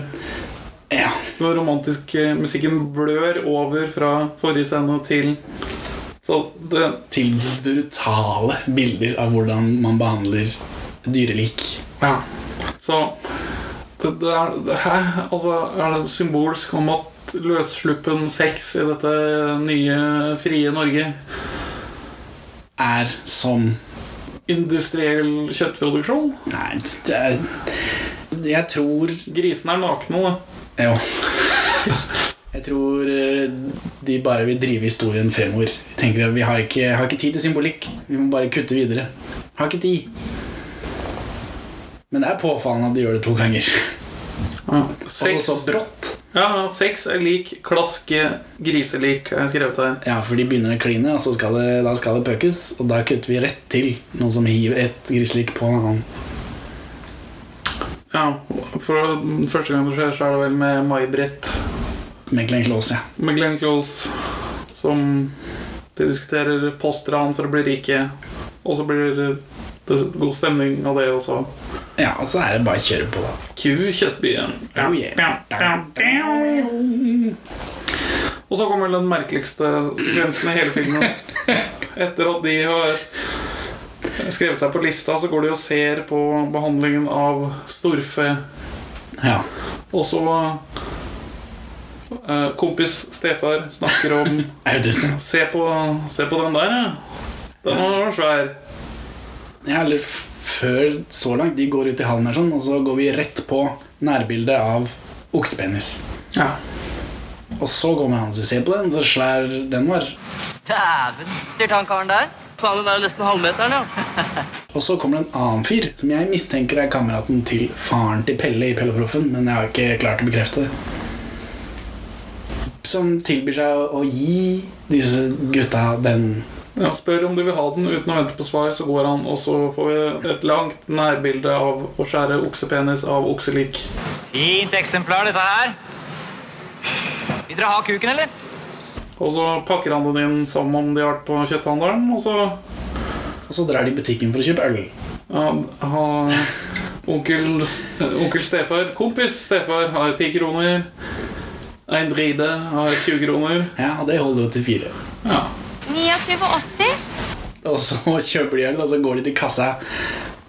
Ja, Den romantiske musikken blør over fra forrige scene til Så det Til brutale bilder av hvordan man behandler dyrelik. Ja. Så det, det er det, Hæ? Altså, er det symbolsk om at løssluppen sex i dette nye, frie Norge Er som Industriell kjøttproduksjon? Nei, det er, jeg tror Grisene er nakne, da. Jo. Jeg tror eh, de bare vil drive historien fremover. Tenker at Vi har ikke, har ikke tid til symbolikk. Vi må bare kutte videre. Har ikke tid. Men det er påfallende at de gjør det to ganger. Og Sex, Altså, så brått. ja, sex er lik klaske griselik, har jeg skrevet her. Ja, for de begynner å kline, og så skal det, da skal det pøkes. Og da kutter vi rett til noen som hiver et griselik på en annen. Ja, for den første gang det skjer, så er det vel med May-Britt Med Glenn Close, ja. med Glenn Close som de diskuterer postran for å bli rike, og så blir det god stemning av det også. ja. Og så er det bare å kjøre på, da. Q Kjøttbyen. Oh, yeah. Og så kommer den merkeligste sekvensen i hele filmen. Etter at de har skrevet seg på lista, så går de og ser på behandlingen av storfe. Ja. Og så eh, Kompis Stefar snakker om Audun. Se på, se på den der, ja. Den var svær. Ja, eller f- før så langt. De går ut i hallen her sånn, og så går vi rett på nærbildet av oksepenis. Ja. Og så kommer han og sier se på den, så svær den var. Dæven, sier han karen der. Faen, den er jo nesten halvmeteren, ja. Og så kommer det en annen fyr, som jeg mistenker er kameraten til faren til Pelle i Pelleproffen, men jeg har ikke klart å bekrefte det. Som tilbyr seg å- å gi disse gutta den ja. Spør om du vil ha den uten å vente på svar, så går han, og så får vi et langt nærbilde av å skjære oksepenis av okselik. Fint eksemplar, dette her. Vil dere ha kuken, eller? Og så pakker han den inn som om de har vært på kjøtthandelen, og så Og så drar de i butikken for å kjøpe øl. ja, ha, Onkel, onkel Stefar, kompis Stefar, har ti kroner. Ein Dride har 20 kroner. Ja, og det holder jo til fire. Ja. 29,80. Og så kjøper de øl, og så går de til kassa.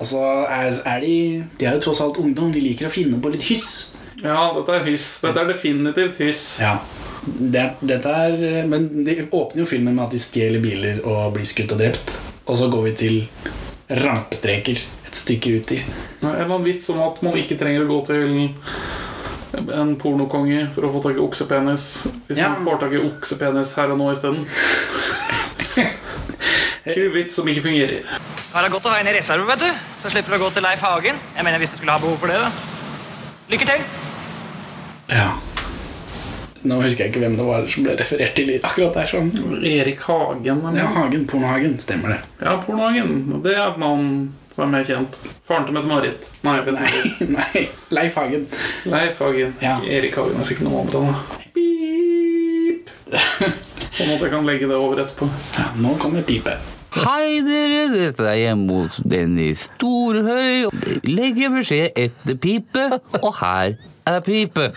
Og så er, er de De er jo tross alt ungdom, de liker å finne på litt hyss. ja, dette er hyss. Dette er definitivt hyss. Ja. Det, dette er Men de åpner jo filmen med at de stjeler biler og blir skutt og drept. Og så går vi til rampestreker et stykke uti. En eller annen vits om at man ikke trenger å gå til en pornokonge for å få tak i oksepenis. Hvis Ja. man får tak i oksepenis her og nå isteden. Kul vits som ikke fungerer. Her er godt å ha en i reserve, vet du. Så slipper du å gå til Leif Hagen. Jeg mener hvis du skulle ha behov for det, da. Lykke til. Ja. Nå husker jeg ikke hvem det var som ble referert til i akkurat der. sånn Erik Hagen. eller? Ja, Hagen, Pornohagen, stemmer det. Ja, Pornohagen. Det er et navn som er mer kjent. Faren til Mette-Marit. Nei, jeg vet ikke. Nei, nei, Leif Hagen. Leif Hagen. Ja. Erik Hagen er sikkert noen andre. Da. Beep. Sånn at jeg kan legge det over etterpå. Ja, nå kommer pipe. Hei dere, dette er hjemme hos Dennis Storhøy. Legg en beskjed etter pipe, og her er pipe.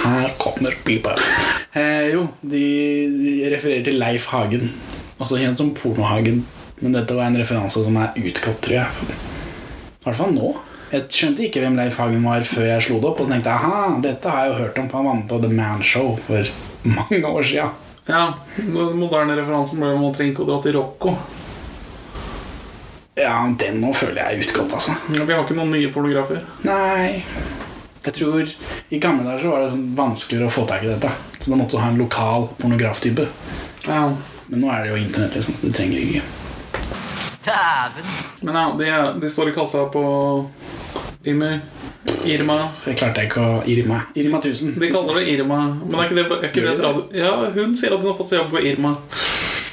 Her kommer pipa. Eh, jo, de, de refererer til Leif Hagen. Også kjent som Pornohagen. Men dette var en referanse som er utgått, tror jeg. I hvert fall nå. Jeg skjønte ikke hvem Leif Hagen var før jeg slo det opp. Og tenkte aha, dette har jeg jo hørt om. for Han var med på The Man Show for mange år sia. Ja, Den moderne referansen ble man trenger ikke å dra til Rocco. Ja, den nå føler jeg er utgått, altså. Ja, Vi har ikke noen nye pornografer. Nei Jeg tror I gamle dager så var det sånn vanskeligere å få tak i dette. Så da måtte du ha en lokal pornograftype. Ja. Men nå er det jo internett, liksom, så du trenger ikke Dæven. Men ja, de, de står i kassa på Imi. Irma. For jeg klarte ikke å Irma. Irma 1000. De kaller det Irma. Men er ikke det, er ikke det et radio... Ja, hun sier at hun har fått seg jobb på Irma.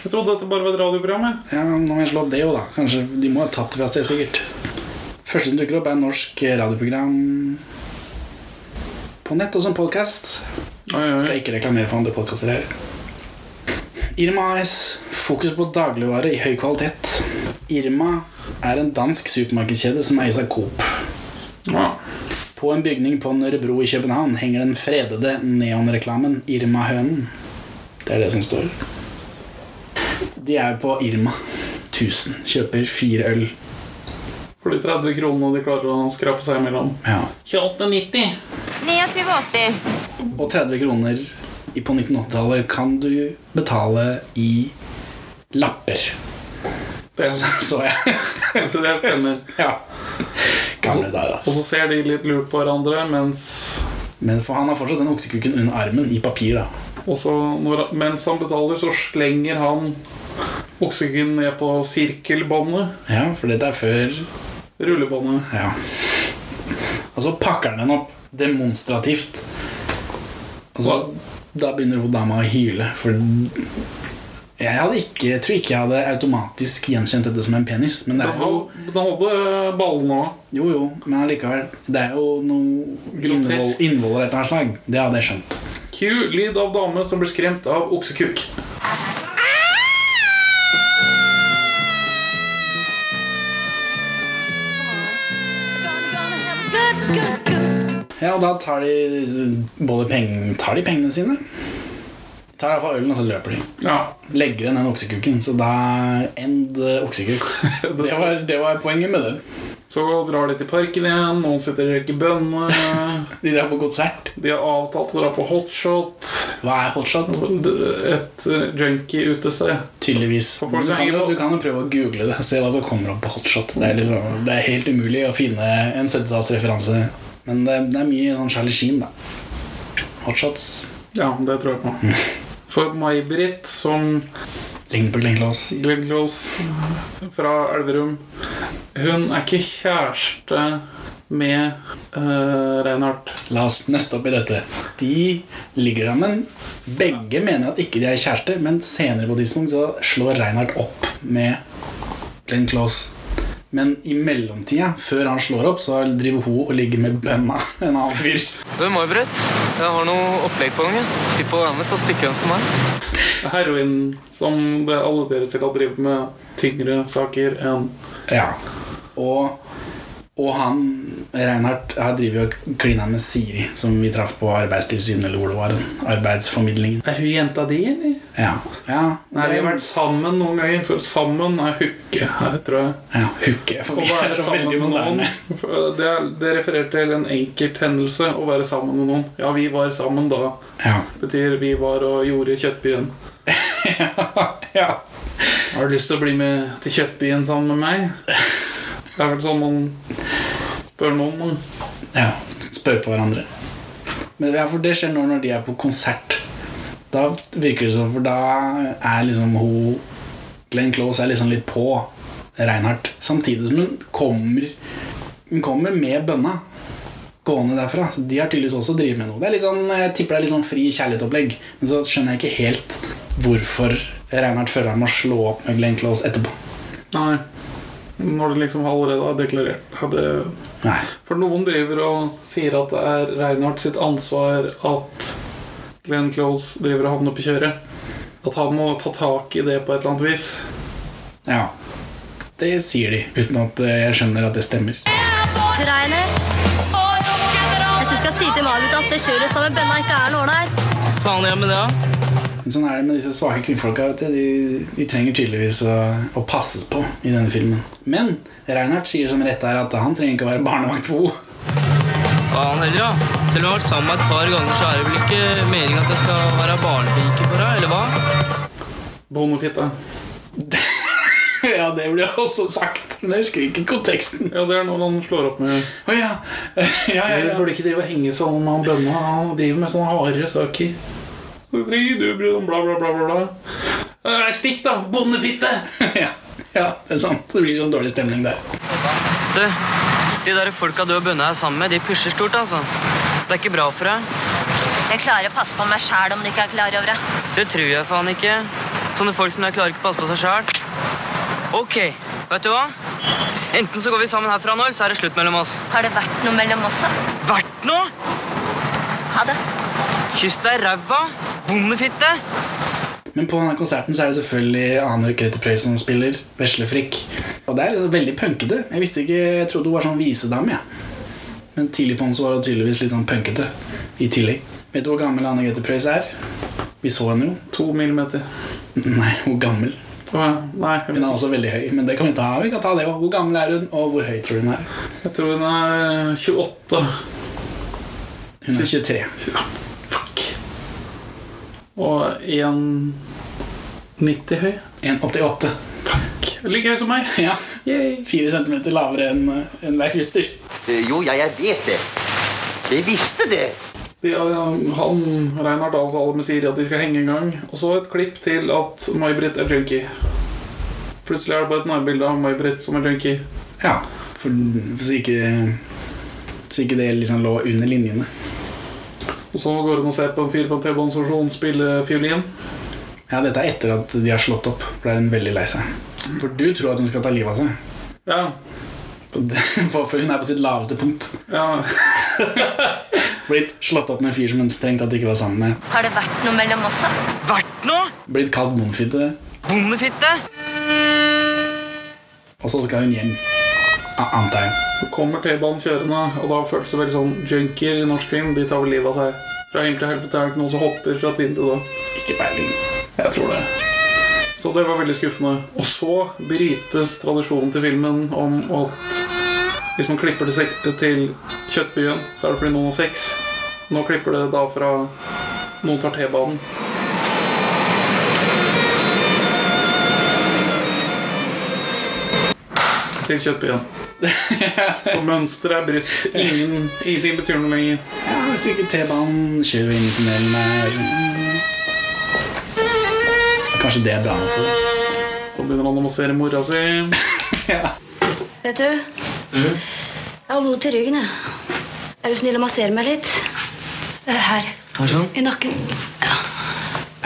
Jeg trodde dette bare var et radioprogram. jeg. Ja, nå må jeg slå opp det jo, da. Kanskje De må ha tatt det fra sted, sikkert. Første som dukker opp, er norsk radioprogram på nett og som podkast. Oi, oi, oi. Skal ikke reklamere for andre podkaster her. Irma AS. Fokus på dagligvare i høy kvalitet. Irma er en dansk supermarkedskjede som eies av Coop. Ja. På en bygning på Nørrebro i København henger den fredede neonreklamen Irma-hønen. Det er det som står. De er på Irma 1000. Kjøper fire øl. For de 30 kronene de klarer å skrape seg imellom. Ja. 28,90. 29,80. Og 30 kroner i- på 1980-tallet kan du betale i lapper. Det, Så jeg. det stemmer. Ja. Gamle dager, Og ass. så ser de litt lurt på hverandre, mens Men for han har fortsatt den oksekuken under armen i papir, da. Og så når, mens han betaler, så slenger han oksygen ned på sirkelbåndet. Ja, for dette er før Rullebåndet. Ja. Og så pakker han den opp demonstrativt. Og så da begynner hun dama å hyle, for jeg hadde ikke, jeg tror ikke jeg hadde automatisk gjenkjent dette som en penis. Men det Den er jo, hal- den hadde ballene òg. jo, jo, men allikevel. Det er jo noe innvoll, Grotesk. innvoller av et eller annet slag. Det hadde jeg skjønt. Q. Lyd av dame som blir skremt av oksekuk. Ja, og da tar de både pengene Tar de pengene sine? De tar iallfall ølen, og så løper de. Ja. Legger igjen den oksekuken. Så da end eh, oksekuk. Det var, det var poenget med den. Så drar de til parken igjen, noen sitter og røyker bønner. De drar på konsert. De har avtalt å dra på hotshot. Hva er hotshot? Et eh, junkie utested. Tydeligvis. folk Du som kan, henger jo, på- du kan jo prøve å google det og se hva som kommer opp på hotshot. Det er, liksom, det er helt umulig å finne en 70-tallsreferanse. Men det, det er mye sånn Charlie Sheen, da. Hotshots. Ja, det tror jeg på. For May-Britt, som Ligner på Glenn Close. Glenn Close fra Elverum Hun er ikke kjæreste med eh, Reinhardt. La oss nøste opp i dette. De ligger sammen. Begge mener at ikke de er kjærester, men senere på et tidspunkt så slår Reinhardt opp med Glenn Close. Men i mellomtida, før han slår opp, så driver hun og ligger med bønna en annen fyr. Du, May-Britt, jeg har noe opplegg på gang. jeg. Tipp på vannet, så stikker hun til meg. Heroin som det er alle dere til å drive med tyngre saker enn Ja. Og, og han Reinhardt her driver jo og kliner med Siri, som vi traff på Arbeidstilsynet, eller hvor det var. den Arbeidsformidlingen. Er hun jenta di, eller? Ja. ja. Nei, vi har vært sammen noen ganger, for sammen er hooke her, tror jeg. Ja, hooke. Å være sammen med noen det, er, det refererer til en enkelt hendelse Å være sammen med noen Ja, vi var sammen da Betyr vi var og gjorde kjøttbyen Har du lyst til å bli med til kjøttbyen sammen med meg? Det er vel sånn man spør noen om Ja, spør på hverandre. Men ja, for det skjer nå når de er på konsert. Da virker det som, for da er liksom hun Glenn Close er liksom litt på Reinhardt. Samtidig som hun kommer Hun kommer med bønna gående derfra. Så de har tydeligvis også drevet med noe. Det er litt sånn, jeg tipper det er litt sånn fri kjærlighetsopplegg. Men så skjønner jeg ikke helt hvorfor Reinhardt føler han må slå opp med Glenn Close etterpå. Nei Når du liksom allerede har deklarert ja, det... For noen driver og sier at det er Reinhardt sitt ansvar At Glenn Close driver og havner på kjøret At han må ta tak i det på et eller annet vis Ja. Det sier de, uten at eh, jeg skjønner at det stemmer. Reinert. Jeg syns du skal si til Margot at det skjulet sammen med bønna ikke er noe ålreit. Faen gjør med det, da? Men sånn er det med disse svake kvinnfolka. vet du. De, de trenger tydeligvis å, å passes på i denne filmen. Men Reinhardt sier som rett er at han trenger ikke å være barnevakt for henne. Faen heller, da. Selv om jeg har vært sammen med et par ganger, så er det vel ikke meningen at jeg skal være barnepike for deg, eller hva? Bonofitta. ja, det blir også sagt, men jeg husker ikke konteksten. Ja, det er noen han slår opp med. Å ja. ja, ja, Jeg burde ikke drive og henge sånn med han bønna. Han driver med sånne harde saker. Du driver- du blir sånn bla, bla, bla, bla, bla. Eh, Stikk, da! Bondefitte! ja. ja, det er sant. Det blir sånn dårlig stemning der. Du, de der folka du og Bønne er sammen med, de pusher stort, altså. Det er ikke bra for deg. Jeg klarer å passe på meg sjæl om du ikke er klar over det. Det tror jeg faen ikke. Sånne folk som deg klarer ikke å passe på seg sjæl. Ok, vet du hva? Enten så går vi sammen herfra nå, eller så er det slutt mellom oss. Har det vært noe mellom oss? da? Vært nå? Ha det. Kyss deg i ræva, bondefitte. Men på denne konserten så er det selvfølgelig Ane Grete Preus som spiller Veslefrikk. Og det er liksom veldig punkete. Jeg visste ikke, jeg trodde hun var sånn visedame. Ja. Men tidlig på den så var hun tydeligvis litt sånn punkete i tillegg. Vet du hvor gammel Ane Grete Preus er? Vi så henne jo. To millimeter. Nei, hvor gammel? Nei. Hun er også veldig høy, men det kan vi ta. Vi kan ta det også. Hvor gammel er hun, og hvor høy tror du hun er? Jeg tror hun er 28. Hun er 23. Og 1,90 høy. 1,88. Like høy som meg. Ja. Fire centimeter lavere enn eh, enn Leif Juster. Eh, Jo, ja, jeg vet det. Jeg visste det. De, eh, han Reinhardt avtaler med Siri at de skal henge en gang. Og så et klipp til at May-Britt er junkie. Plutselig er det bare et nærbilde av May-Britt som er junkie. Ja, for, for så, ikke, så ikke det liksom lå under linjene. Og så går hun og ser på en fyr på en T-banestasjon spille fiolin. Ja, dette er etter at de har slått opp. For da er hun veldig lei seg. For du tror at hun skal ta livet av seg. Ja. Og det- For hun er på sitt laveste punkt. Ja. Blitt slått opp med en fyr som hun strengt tatt ikke var sammen med. Har det vært noe mellom oss? da? Vært nå? Blitt kalt bondefitte. Bondefitte. Og så skal hun hjem. A- Antar jeg. Så kommer T-banen kjørende, og da føles det veldig sånn junkier i norsk film. De tar vel livet av seg. Fra himmel til helvete er det ikke noen som hopper fra tvinn til da. Ikke peiling. Jeg tror det. Så det var veldig skuffende. Og så brytes tradisjonen til filmen om at hvis man klipper til, sek- til Kjøttbyen, så er det fordi noen har sex. Nå klipper det da fra noen tar T-banen. Til Kjøttbyen. Så mønsteret er brutt. Ingen, ingenting betyr noe lenger. Ja, hvis ikke T-banen kjører inn i tunnelen her Så Kanskje det er bra nok for henne. Så begynner han å massere mora si. Vet du, jeg har vondt i ryggen. jeg. Er du snill å massere meg litt? Eh, Her. I nakken.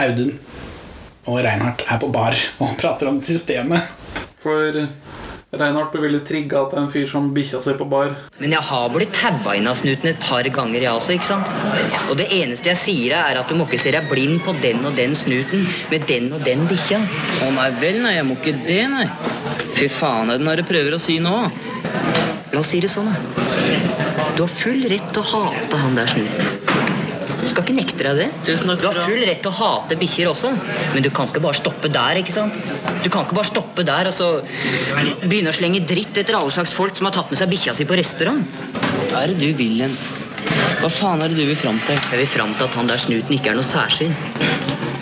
Audun og Reinhardt er på bar og prater om systemet. For eh, Reinhardt ble veldig trigga til en fyr som bikkja si på bar. Men jeg har blitt tabba inn av snuten et par ganger, jeg også. ikke sant? Og det eneste jeg sier, er at du må ikke se deg blind på den og den snuten med den og den bikkja. Å nei vel, nei, jeg må ikke det, nei. Fy faen er det når du prøver å si nå? La oss si det sånn, da. Du har full rett til å hate han der snuten. Du skal ikke nekte deg det. du har full rett til å hate bikkjer også, men du kan ikke bare stoppe der. ikke sant? Du kan ikke bare stoppe der og så begynne å slenge dritt etter alle slags folk som har tatt med seg bikkja si på restaurant. Hva er det du vil hen? Hva faen er det du vil fram til? Jeg vil fram til at han der snuten ikke er noe særsyn.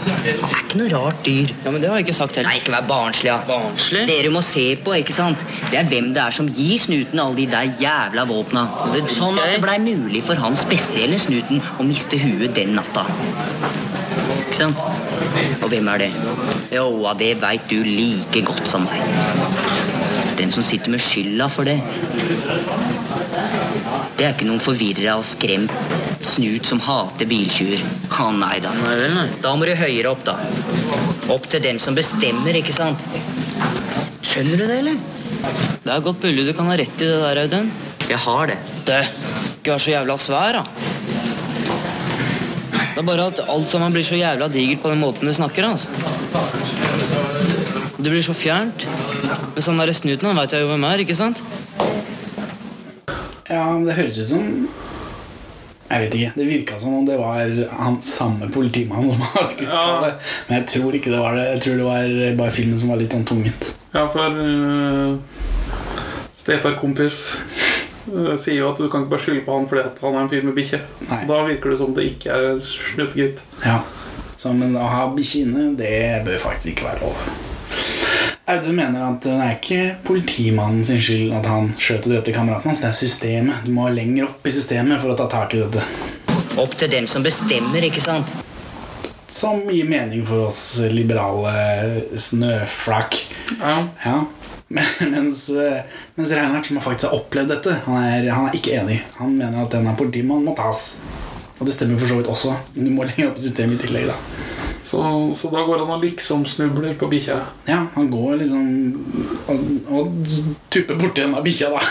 Han er ikke noe rart dyr. Ja, men Det har jeg ikke sagt heller. Nei, ikke vær barnslig. Ja. Barnslig? Dere må se på, ikke sant? Det er hvem det er som gir snuten alle de der jævla våpna. Sånn at det blei mulig for han spesielle snuten å miste huet den natta. Ikke sant? Og hvem er det? Jo, ja, det veit du like godt som meg. Den som sitter med skylda for det, det er ikke noen forvirra og skremt snut som hater biltjuver. Ha, nei da. Da må du høyere opp, da. Opp til dem som bestemmer, ikke sant? Skjønner du det, eller? Det er godt mulig du kan ha rett i det der, Audun. Jeg har det. Det, ikke vær så jævla svær, da. Det er bare at alt sammen blir så jævla digert på den måten du snakker, altså. Det blir så fjernt. Men sånn derre snuten, han veit jeg jo hvem er, ikke sant? Ja, men det høres ut som Jeg vet ikke. Det virka som om det var han samme politimannen som har skutt. alle. Men jeg tror ikke det var det. Jeg tror det var bare filmen som var litt sånn tungvint. Ja, for uh, stefarkompis eh, sier jo at du kan ikke bare skylde på han fordi at han er en fyr med bikkje. Da virker det som det ikke er snuttgitt. Ja. Så, men å ha bikkje inne, det bør faktisk ikke være lov. Audun mener at det er ikke politimannen sin skyld at han skjøt og drepte kameraten hans. Det er systemet. Du må lenger opp i systemet for å ta tak i dette. Opp til dem som bestemmer, ikke sant? Som gir mening for oss liberale snøflak. Ja. Men, mens, eh, mens Reinhardt, som faktisk har opplevd dette, han er, han er ikke enig. Han mener at denne politimannen må tas. Og det stemmer for så vidt også. Men du må lenger opp i systemet i tillegg, da. Så, så da går han og liksom snubler på bikkja. Ja, han går liksom og, og tupper borti denne bikkja, da.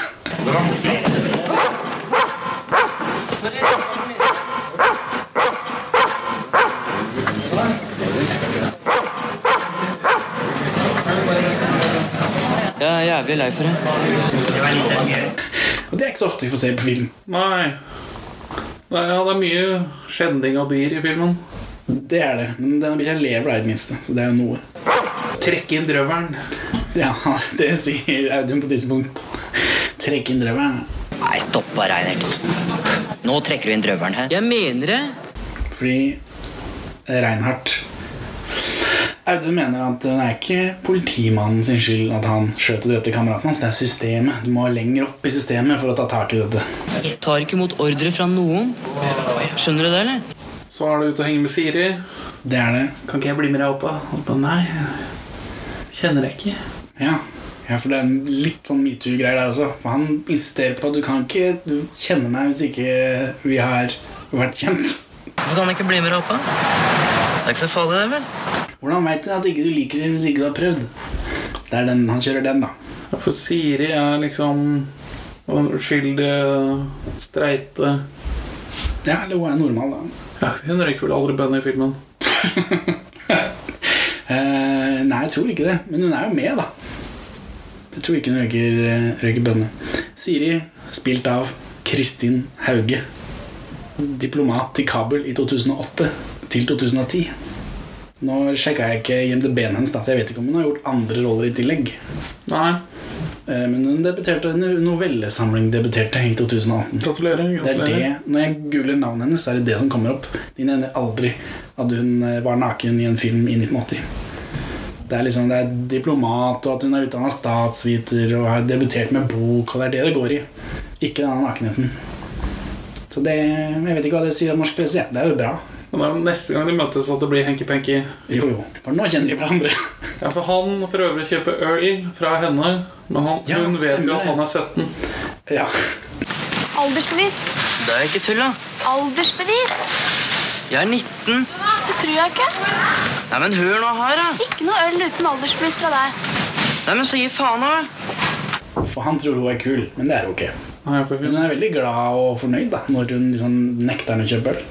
Jeg er jævlig lei for det. Og det er ikke så ofte vi får se på film. Nei. Nei ja, det er mye skjending av dyr i filmen. Det er det. Men denne bikkja lever da i det minste, så det er jo noe. Trekk inn drøvelen. Ja, det sier Audun på et tidspunkt. Trekk inn drøvelen. Nei, stopp da, Reinert. Nå trekker du inn drøvelen her. Jeg mener det. Fordi eh, Reinhardt Audun mener at det er ikke politimannen sin skyld at han skjøt og drepte kameraten hans. Det er systemet. Du må lenger opp i systemet for å ta tak i dette. Tar ikke imot ordre fra noen. Skjønner du det, eller? Så er du ute og henger med Siri. Det er det. Kan ikke jeg bli med deg opp, da? Og så bare, Nei. Kjenner jeg ikke. Ja. ja, for det er en litt sånn metoo-greier der også. For han insisterer på at du kan ikke du kjenne meg hvis ikke vi har vært kjent. Hvorfor kan jeg ikke bli med deg opp, da? Det er ikke så farlig, det, vel? Hvordan veit du at ikke du liker det hvis ikke du har prøvd? Det er den, Han kjører den, da. Ja, For Siri er liksom den uskyldige, streite Ja, eller hun er normal, da. Ja, Hun røyker vel aldri bønn i filmen. Eh, nei, jeg tror ikke det. Men hun er jo med, da. Jeg tror ikke hun røyker, eh, røyker bønne. Siri, spilt av Kristin Hauge. Diplomat til Kabul i 2008 til 2010. Nå sjekka jeg ikke IMDb-en hennes, da, så jeg vet ikke om hun har gjort andre roller i tillegg. Nei. Eh, Men hun debuterte en novellesamling debuterte i 2018. Gratulerer. Det er det, Når jeg googler navnet hennes, så er det det som kommer opp. De nevner aldri at hun eh, var naken i en film i 1980. Det er liksom, det er diplomat, og at hun er utdanna statsviter og har debutert med bok, og det er det det går i. Ikke denne nakenheten. Så det, Jeg vet ikke hva det sier om norsk presse. ja. Det er jo bra. Men det er jo neste gang de møtes at det blir hanky-panky. Jo, jo. For nå kjenner de hverandre. ja, for han prøver å kjøpe øl fra henne, men han, hun vet jo at han er 17. Ja. Aldersbevis. Det er ikke tull, da. Aldersbevis. Jeg er 19. Det tror jeg ikke. Nei, men hør nå her, da. Ikke noe øl uten aldersbevis fra deg. Nei, men så gi faen, da. For han tror hun er kul, men det er hun ikke. Men hun er veldig glad og fornøyd da når hun liksom nekter han å kjøpe øl.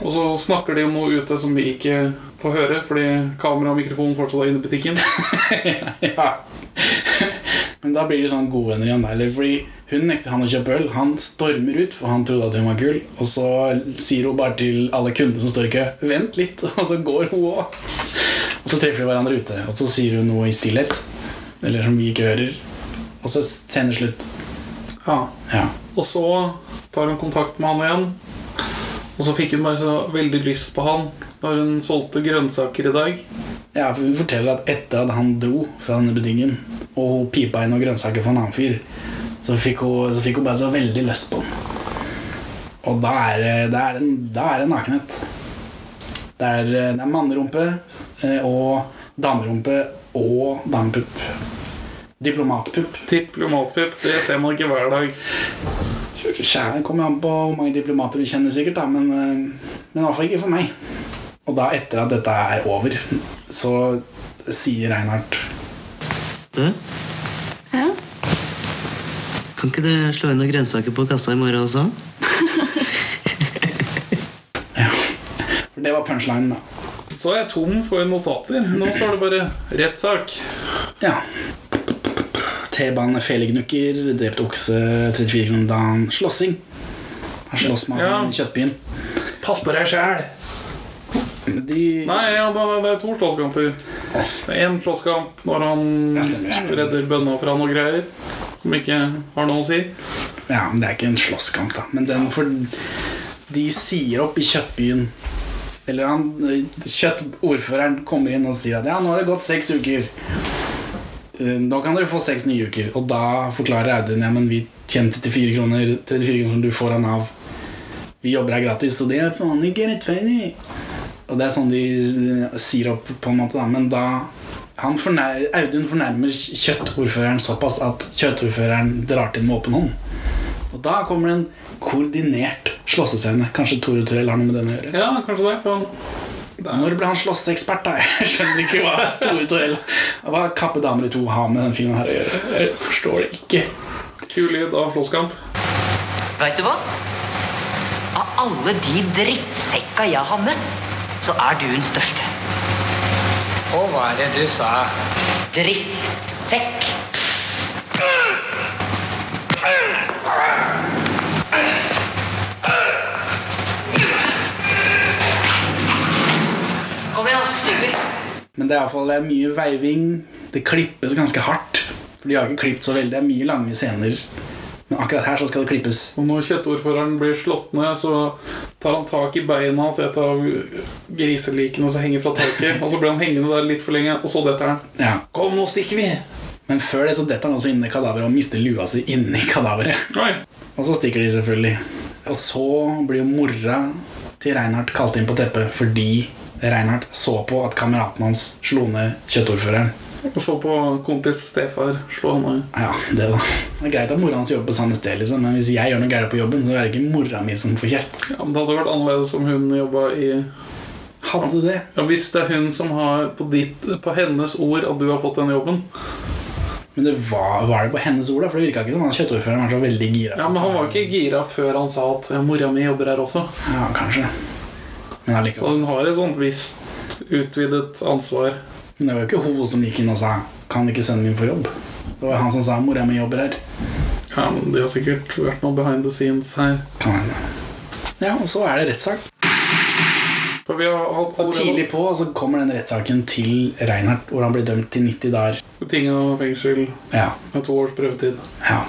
Og så snakker de om noe ute som vi ikke får høre, fordi kamera og mikrofon fortsatt er inne i butikken. Men da blir de sånn gode venner igjen. da, Eller fordi hun nekter han å kjøpe øl. Han stormer ut, for han trodde at hun var kul. Og så sier hun bare til alle kundene som står i kø, 'vent litt', og så går hun òg. Og så treffer de hverandre ute, og så sier hun noe i stillhet. Eller som vi ikke hører. Og så sender slutt. Ja. Og så tar hun kontakt med han igjen. Og så fikk hun bare så veldig lyst på han når hun solgte grønnsaker i dag. Ja, for Hun forteller at etter at han dro fra denne butikken og hun pipa inn noen grønnsaker for en annen fyr, så fikk hun, så fikk hun bare så veldig lyst på den. Og da er det- da er det, da er det nakenhet. Det er, det er mannerumpe eh, og damerumpe og damepupp. Diplomatpupp. Diplomatpupp, det ser man ikke hver dag. Kjære, det kommer an på hvor mange diplomater vi kjenner sikkert, da, men, eh, men iallfall ikke for meg. Og da, etter at dette er over, så sier Reinhardt Kan ikke du slå inn noen grønnsaker på kassa i morgen også? For det var punchlinen, da. Så er jeg tom for notater. Nå står det bare 'rettssak'. Ja. T-bane, felegnukker, drept okse, 34 kroner dagen, slåssing. Her slåss man Ja. i kjøttbyen. Pass på deg sjæl! Nei, ja, da, da, det er to slåsskamper. Det er én slåsskamp når han redder bønna fra noe greier som ikke har noe å si. Ja, men det er ikke en slåsskamp, da. Men den for De sier opp i kjøttbyen. Eller han kjøtt, Ordføreren kommer inn og sier at ja, nå har det gått seks uker. Eh, Nå kan dere få seks nye uker. Og da forklarer Audun ja, men vi tjente 34 kroner, 34 kroner som du får av Nav. Vi jobber her gratis, så det er faen ikke rettferdig. Og det er sånn de eh, sier opp, på en måte. da Men da han fornær, Audun fornærmer kjøttordføreren såpass at kjøttordføreren drar til med åpen hånd. Og da kommer det en koordinert slåssescene. Kanskje Tore Turell har noe med den å gjøre. Ja, kanskje det. for han- Når ble han slåssekspert, da? Jeg skjønner ikke hva Tore Torell Hva Kappe damer i to har med den filmen her å gjøre. Jeg forstår det ikke. Kul lyd av slåsskamp. Veit du hva? Av alle de drittsekka jeg har møtt, så er du den største. Og hva er det du sa? Drittsekk. Kom igjen, altså, Stigler. Men det er, i hvert fall- det er mye veiving. Det klippes ganske hardt. For de har ikke klippet så veldig. Det er mye lange scener. Men akkurat her så skal det klippes. Og når kjøttordføreren blir slått ned, så tar han tak i beina til et av griselikene som henger fra taket. Og så blir han hengende der litt for lenge, og så detter han. Ja. Kom, nå stikker vi! Men før det så detter han også inn i kadaveret og mister lua si inni kadaveret. Og så stikker de selvfølgelig. Og så blir jo mora til Reinhardt kalt inn på teppet fordi Reinhardt så på at kameraten hans slo ned kjøttordføreren. Og så på kompis stefar slå han av. Ja, det da. Det er greit at mora hans jobber på samme sted, liksom, men hvis jeg gjør noe gærent på jobben, så er det ikke mora mi som får kjeft. Ja, men det hadde vært annerledes om hun jobba i Hadde det? Ja, Hvis det er hun som har på, ditt, på hennes ord at du har fått den jobben. Men det var, var det på hennes ord, da? For det virka ikke som han kjøttordføreren var så veldig gira. Ja, Men han var ikke gira før han sa at ja, 'mora mi jobber her også'. Ja, kanskje. Men allikevel. Så hun har et sånt visst utvidet ansvar. Men det var jo ikke hun som gikk inn og sa 'Kan ikke sønnen min få jobb?' Det var han som sa 'Mora mi jobber her'. Ja, men Det har sikkert vært noe behind the scenes her. Kan hende. Ja, og så er det rettssak. For vi har hatt Og tidlig på så kommer den rettssaken til Reinhardt, hvor han blir dømt til 90 dager. Ting av fengsel Ja. med to års prøvetid. Ja.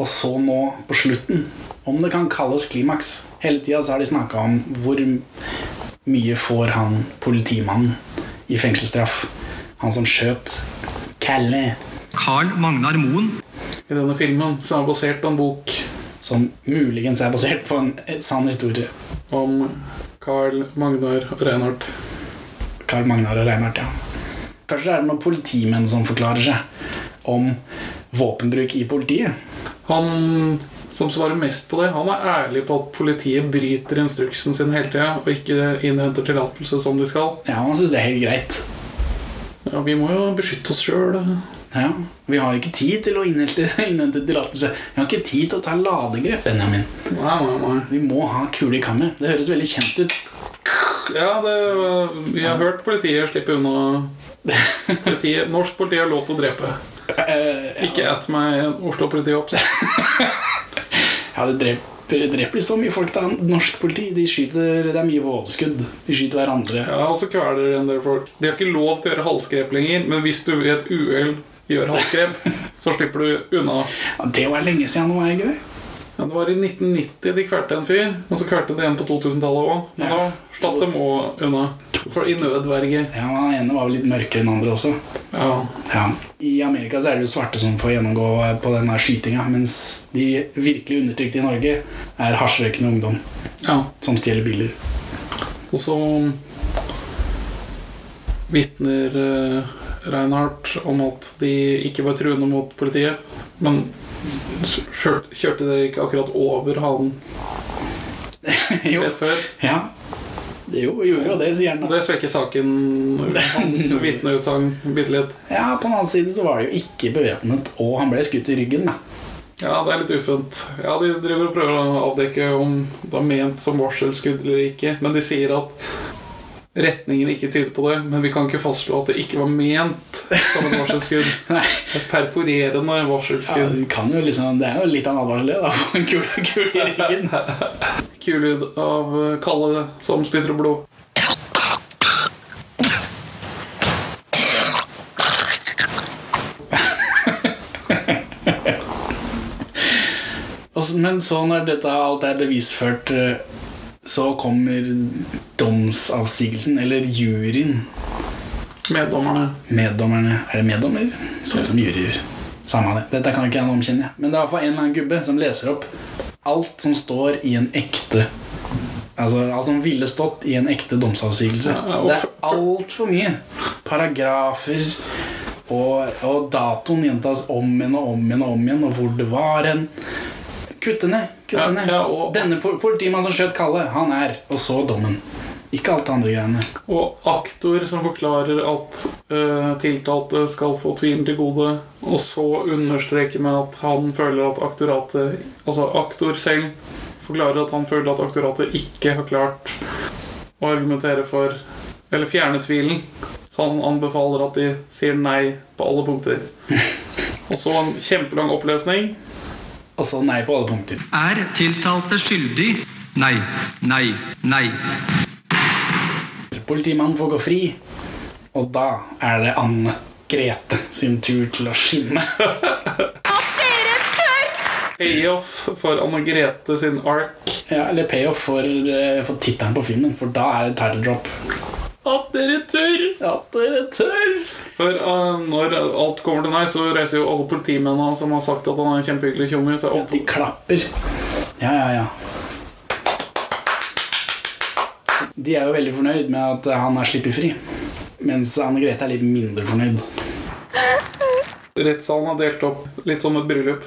Og så nå, på slutten, om det kan kalles klimaks Hele tida så har de snakka om hvor m- mye får han politimannen i fengselsstraff. Han som skjøt Kalle. Carl Magnar Moen. I denne filmen som er basert på en bok Som muligens er basert på en eh, sann historie. om Carl Magnar og Reinhardt. Carl Magnar og Reinhardt, ja. Først så er det noen politimenn som forklarer seg om våpenbruk i politiet. Han som svarer mest på det, han er ærlig på at politiet bryter instruksen sin hele tida og ikke innhenter tillatelse som de skal. Ja, han syns det er helt greit. Ja, vi må jo beskytte oss sjøl. Ja, Vi har ikke tid til å innhente, innhente tillatelse. Vi har ikke tid til å ta ladegrep, Benjamin. Vi må ha kule i kammeret. Det høres veldig kjent ut. Ja, det, vi har hørt politiet slippe unna. Politiet, norsk politi har lov til å drepe. Ikke at meg Oslo-politiet opp. Ja, det dreper, dreper de så mye folk, da. Norsk politi. De skyter, Det er mye vådeskudd. De skyter hverandre. Ja, og så kveler en del folk. De har ikke lov til å gjøre halsgrep lenger, men hvis du ved et uhell gjør halsgrep, så slipper du unna. det var lenge siden nå, er det ikke det? Ja, det var i 1990 de kvelte en fyr, og så kvelte de en på 2000-tallet òg. Men da slapp dem òg unna. For i nødverge. Ja, men Han ene var vel litt mørkere enn andre også. Ja. I Amerika så er det jo svarte som får gjennomgå på denne skytinga, mens de virkelig undertrykte i Norge er hasjrøykende ungdom Ja. som stjeler biler. Og så um, vitner eh, Reinhardt om at de ikke var truende mot politiet, men s- kjør- kjørte dere ikke akkurat over han rett før? Ja. Det jo, gjorde jo det, sier han. Det svekker saken, hans vitneutsagn, bitte litt. Ja, På den annen side så var det jo ikke bevæpnet, og han ble skutt i ryggen. da Ja, det er litt ufint. Ja, De driver og prøver å avdekke om det er ment som varselskudd eller ikke. Men de sier at retningen ikke tyder på det. Men vi kan ikke fastslå at det ikke var ment som et varselskudd. Et perforerende ja, varselskudd. du kan jo liksom, Det er jo litt av en advarsel, det. da for en kul, kul i ryggen. Kul lyd av eh, Kalle som spytter opp blod. Og så- Altså, Men så når dette alt er bevisført, eh, så kommer domsavsigelsen, eller juryen. Meddommerne. Meddommerne. Er det meddommer? Sånn som juryer. Samme det. Dette kan ikke jeg noe om, kjenner jeg. Men det er i hvert fall en eller annen gubbe som leser opp alt som står i en ekte Altså alt som ville stått i en ekte domsavsigelse. og Det er altfor mye. Paragrafer og, og datoen gjentas om igjen og om igjen og om igjen, og hvor det var hen. Kutte ned. kutte ned Denne po- politimannen som skjøt Kalle, han er Og så dommen. Ikke alt det andre greiene. Og aktor som forklarer at eh, tiltalte skal få tvilen til gode, og så understreker med at han føler at aktoratet Altså aktor selv forklarer at han føler at aktoratet ikke har klart å argumentere for Eller fjerne tvilen. Så han anbefaler at de sier nei på alle punkter. Og så en kjempelang opplesning. Og så nei på alle punkter. Er tiltalte skyldig? Nei, nei, nei. Politimannen får gå fri, og da er det Anne Grete sin tur til å skinne. Payoff for Anne Grete sin ark. Ja, eller payoff for, eh, for tittelen på filmen, for da er det title drop. At dere tør! At dere tør! For eh, når alt kommer til nei, så reiser jo alle politimennene som har sagt at han er en kjempehyggelig tjommer, seg opp. de klapper. Ja, ja, ja. De er jo veldig fornøyd med at han er sluppet fri, mens Anne Grete er litt mindre fornøyd. Rettssalen er delt opp litt som et bryllup.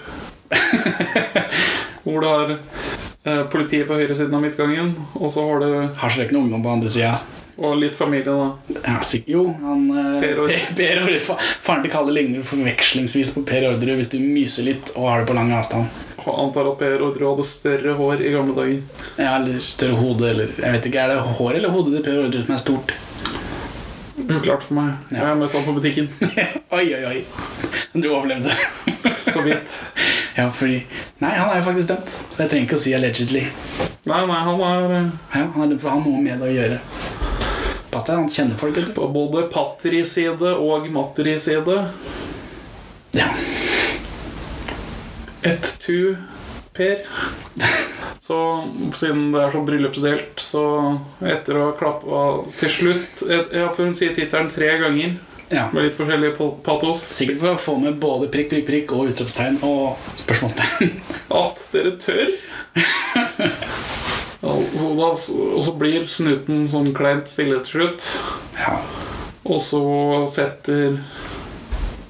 Hvor du har eh, politiet på høyresiden av midtgangen, og så har du Hasjrøykende ungdom på andre sida. Og litt familie, da. Ja, sikk- jo, han eh, Per Orderud. Per, per Orderud. Fa- Faren til Kalle ligner forvekslingsvis på Per Orderud hvis du myser litt og har det på lang avstand. Og antar at Per Ordre hadde større hår i gamle dager. Ja, eller større hode, eller Jeg vet ikke, er det hår eller hodet til Per Orderud som er stort? Uklart for meg. Jeg har møtt ham på butikken. oi, oi, oi. Du overlevde. Så vidt. Ja, fordi Nei, han er jo faktisk dømt, så jeg trenger ikke å si allegedly. Nei, nei, han er eh, Ja, han er dømt for å ha noe med det å gjøre. Pass deg, han kjenner folk, vet du. På både patri-side og matri-side. Ja. Et tu, Per. Så siden det er så bryllupsdelt, så etter å ha klappa til slutt et- Ja, for hun sier tittelen tre ganger. Ja. Med litt forskjellig pa- patos. Sikkert for å få med både prikk, prikk, prikk og utropstegn og spørsmålstegn. At dere tør? Ja, Og så, da, og så blir snuten sånn kleint stille til slutt. Og så setter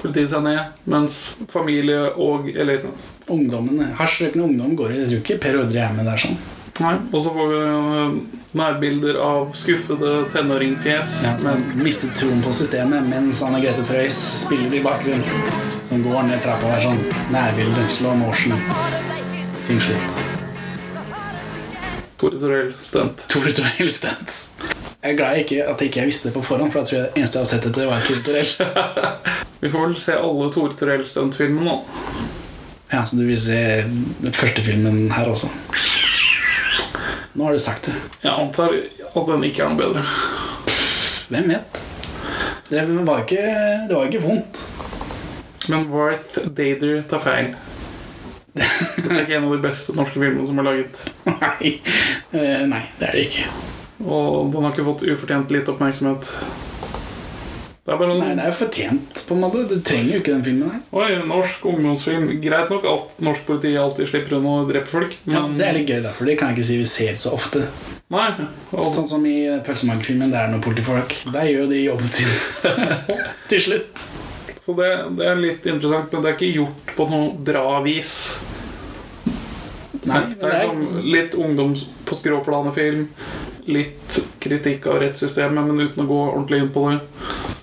politiet seg ned, mens familie og Eller Ungdommene, Hasjrøykende ungdom går i Jeg tror ikke Per Ordre er med der sånn. Nei, Og så får vi eh, nærbilder av skuffede tenåringfjes. Ja, som har mistet troen på systemet mens Anne Grete Preus spiller i bakgrunnen. Som går ned trappa der sånn. Nærbilde, slow motion. Fin slutt. Tore Torell-stunt. Tore Torell-stunt. Jeg er glad jeg ikke, at jeg ikke visste det på forhånd, for da tror jeg det eneste jeg har sett etter, var Tore Torell. Vi får vel se alle Tore Torell-stuntfilmene nå. Ja, så du vil se den første filmen her også. Nå har du sagt det. Jeg antar at den ikke er noe bedre. Hvem vet? Det var ikke, det var ikke vondt. Men Warth Dader tar feil. Det er ikke en av de beste norske filmene som er laget. Nei. Eh, nei, det er det ikke. Og den har ikke fått ufortjent lite oppmerksomhet. Det er bare Nei, det er jo fortjent, på en måte. Du trenger jo ikke den filmen her. Oi, norsk ungdomsfilm. Greit nok at norsk politi alltid slipper unna å drepe folk, men Ja, det er litt gøy, da, for det kan jeg ikke si vi ser så ofte. Nei. Sånn som i Pølsemagerfilmen, der er det noen politifolk. Der gjør jo de jobben sin. Til slutt. Så det, det er litt interessant, men det er ikke gjort på noe bra vis. Nei, det er liksom litt ungdoms på skråplanet-film. Litt kritikk av rettssystemet, men uten å gå ordentlig inn på det.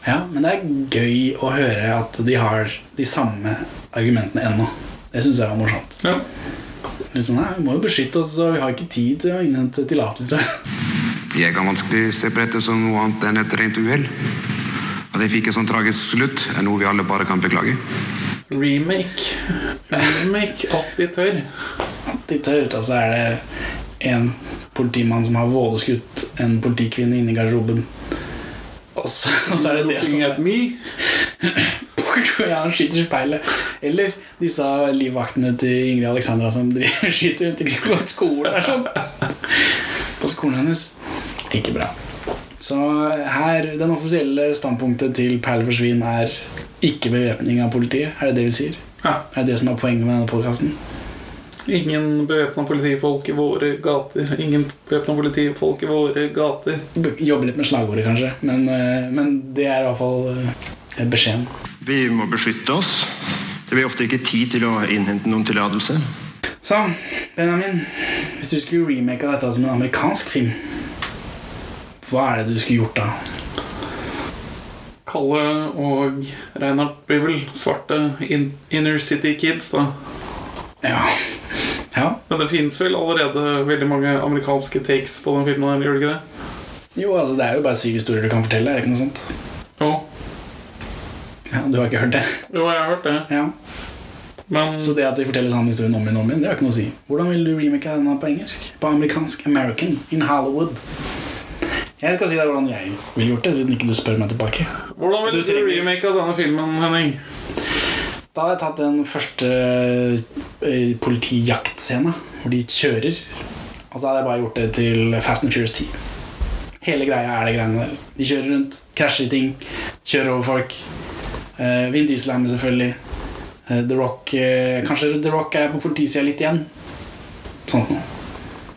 Ja, men det er gøy å høre at de har de samme argumentene ennå. Det syns jeg var morsomt. Ja. Litt sånn, nei, Vi må jo beskytte oss, og vi har ikke tid til å innhente tillatelse. Jeg kan vanskelig se på dette som noe annet enn et rent uhell. At jeg fikk et sånn tragisk slutt, er noe vi alle bare kan beklage. Remake. Remake at de tør. At de tør. Da så altså, er det en politimann som har vådeskutt en politikvinne inni garderoben. Og så, og så er det det som at me. Ja, han skyter i speilet. Eller disse livvaktene til Ingrid Alexandra som driver, skyter rundt omkring på skolen. og Sånn. På skolen hennes. Ikke bra. Så her, den offisielle standpunktet til Perle forsvinn er ikke bevæpning av politiet. Er det det vi sier? Er det det som er poenget med denne podkasten? Ingen bevæpna politifolk i våre gater. Ingen bevæpna politifolk i våre gater. Jobbe litt med slagordet, kanskje. Men, eh, men det er i hvert fall eh, beskjeden. Vi må beskytte oss. Det blir ofte ikke tid til å innhente noen tillatelse. Så, Benjamin, hvis du skulle remake av dette som en amerikansk film, hva er det du skulle gjort da? Kalle og Reinhard blir vel svarte in inner city kids, da. Ja. Men det fins vel allerede veldig mange amerikanske takes på den filmen, her, gjør det ikke det? Jo, altså Det er jo bare syv historier du kan fortelle. er det ikke noe sånt? Jo. Ja, Du har ikke hørt det? Jo, jeg har hørt det. Så det at vi forteller samme historien om igjen og om igjen, det har ikke noe å si. Hvordan vil du remake denne på engelsk? På amerikansk? American? In Hollywood? Jeg skal si deg hvordan jeg ville gjort det, siden ikke du spør meg tilbake. Hvordan vil du, remake av denne filmen, Henning? Da har jeg tatt den første eh, politijaktscena, hvor de kjører. Og så hadde jeg bare gjort det til Fast and Furious 10. Hele greia er det greiene der. De kjører rundt, krasjer i ting, kjører over folk. Uh, Vin Diesel er med, selvfølgelig. Eh, The Rock eh, Kanskje The Rock er på politisida litt igjen. Sånt noe.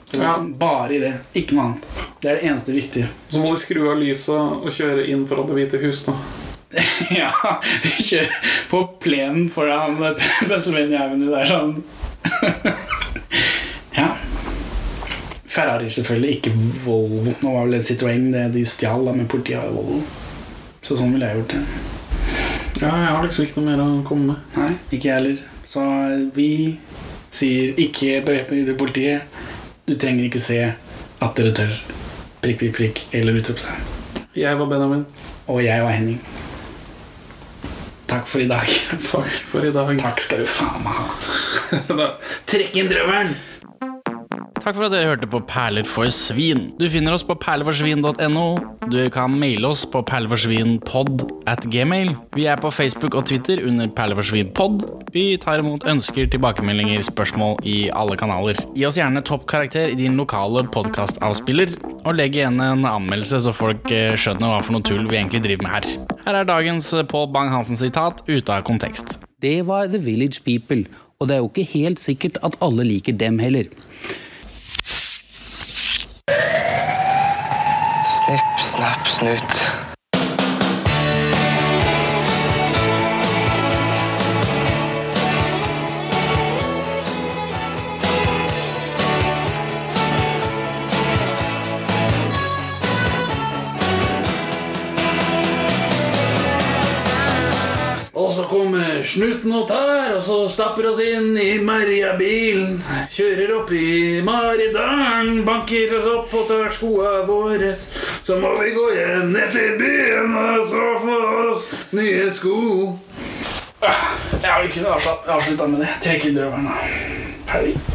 Så Bare i det. Ikke noe annet. Det er det eneste viktige. Så må de skru av lyset og kjøre inn foran Det hvite hus, da. ja, de kjører på plenen foran Pennsylvania Avenue der sånn. ja. Ferrari selvfølgelig, ikke Volvo. Nå var vel det Citroën det de stjal, da, men politiet har jo Volvo. Så sånn ville jeg gjort det. Ja, jeg har liksom ikke noe mer å komme med. Nei, ikke jeg heller. Så eh, vi sier ikke bevæpne i politiet. Du trenger ikke se at dere tør. Prikk, prikk, prikk. Eller utropstegn. Jeg var Benjamin. Og jeg var Henning. Takk for i dag. Takk for i dag. Takk skal du faen meg ha. Trekk inn drømmeren! Takk for at dere hørte på Perler for svin. Du finner oss på perleforsvin.no. Du kan maile oss på perleforsvinpod at gmail. Vi er på Facebook og Twitter under perleforsvinpod. Vi tar imot ønsker, tilbakemeldinger, spørsmål i alle kanaler. Gi oss gjerne toppkarakter i din lokale podkastavspiller, og legg igjen en anmeldelse så folk eh, skjønner hva for noe tull vi egentlig driver med her. Her er dagens eh, Pål Bang-Hansen-sitat ute av kontekst. Det var The Village People, og det er jo ikke helt sikkert at alle liker dem heller. Snipp, snapp, snut. kommer snutnot her, og så stapper oss inn i merjabilen. Kjører opp i Maridalen, banker oss opp og tar skoa våre. Så må vi gå hjem ned til byen og så få oss nye sko. Jeg vil kunne avslut- avslutta med det. Trekk i drøvelen, da. Ferdig.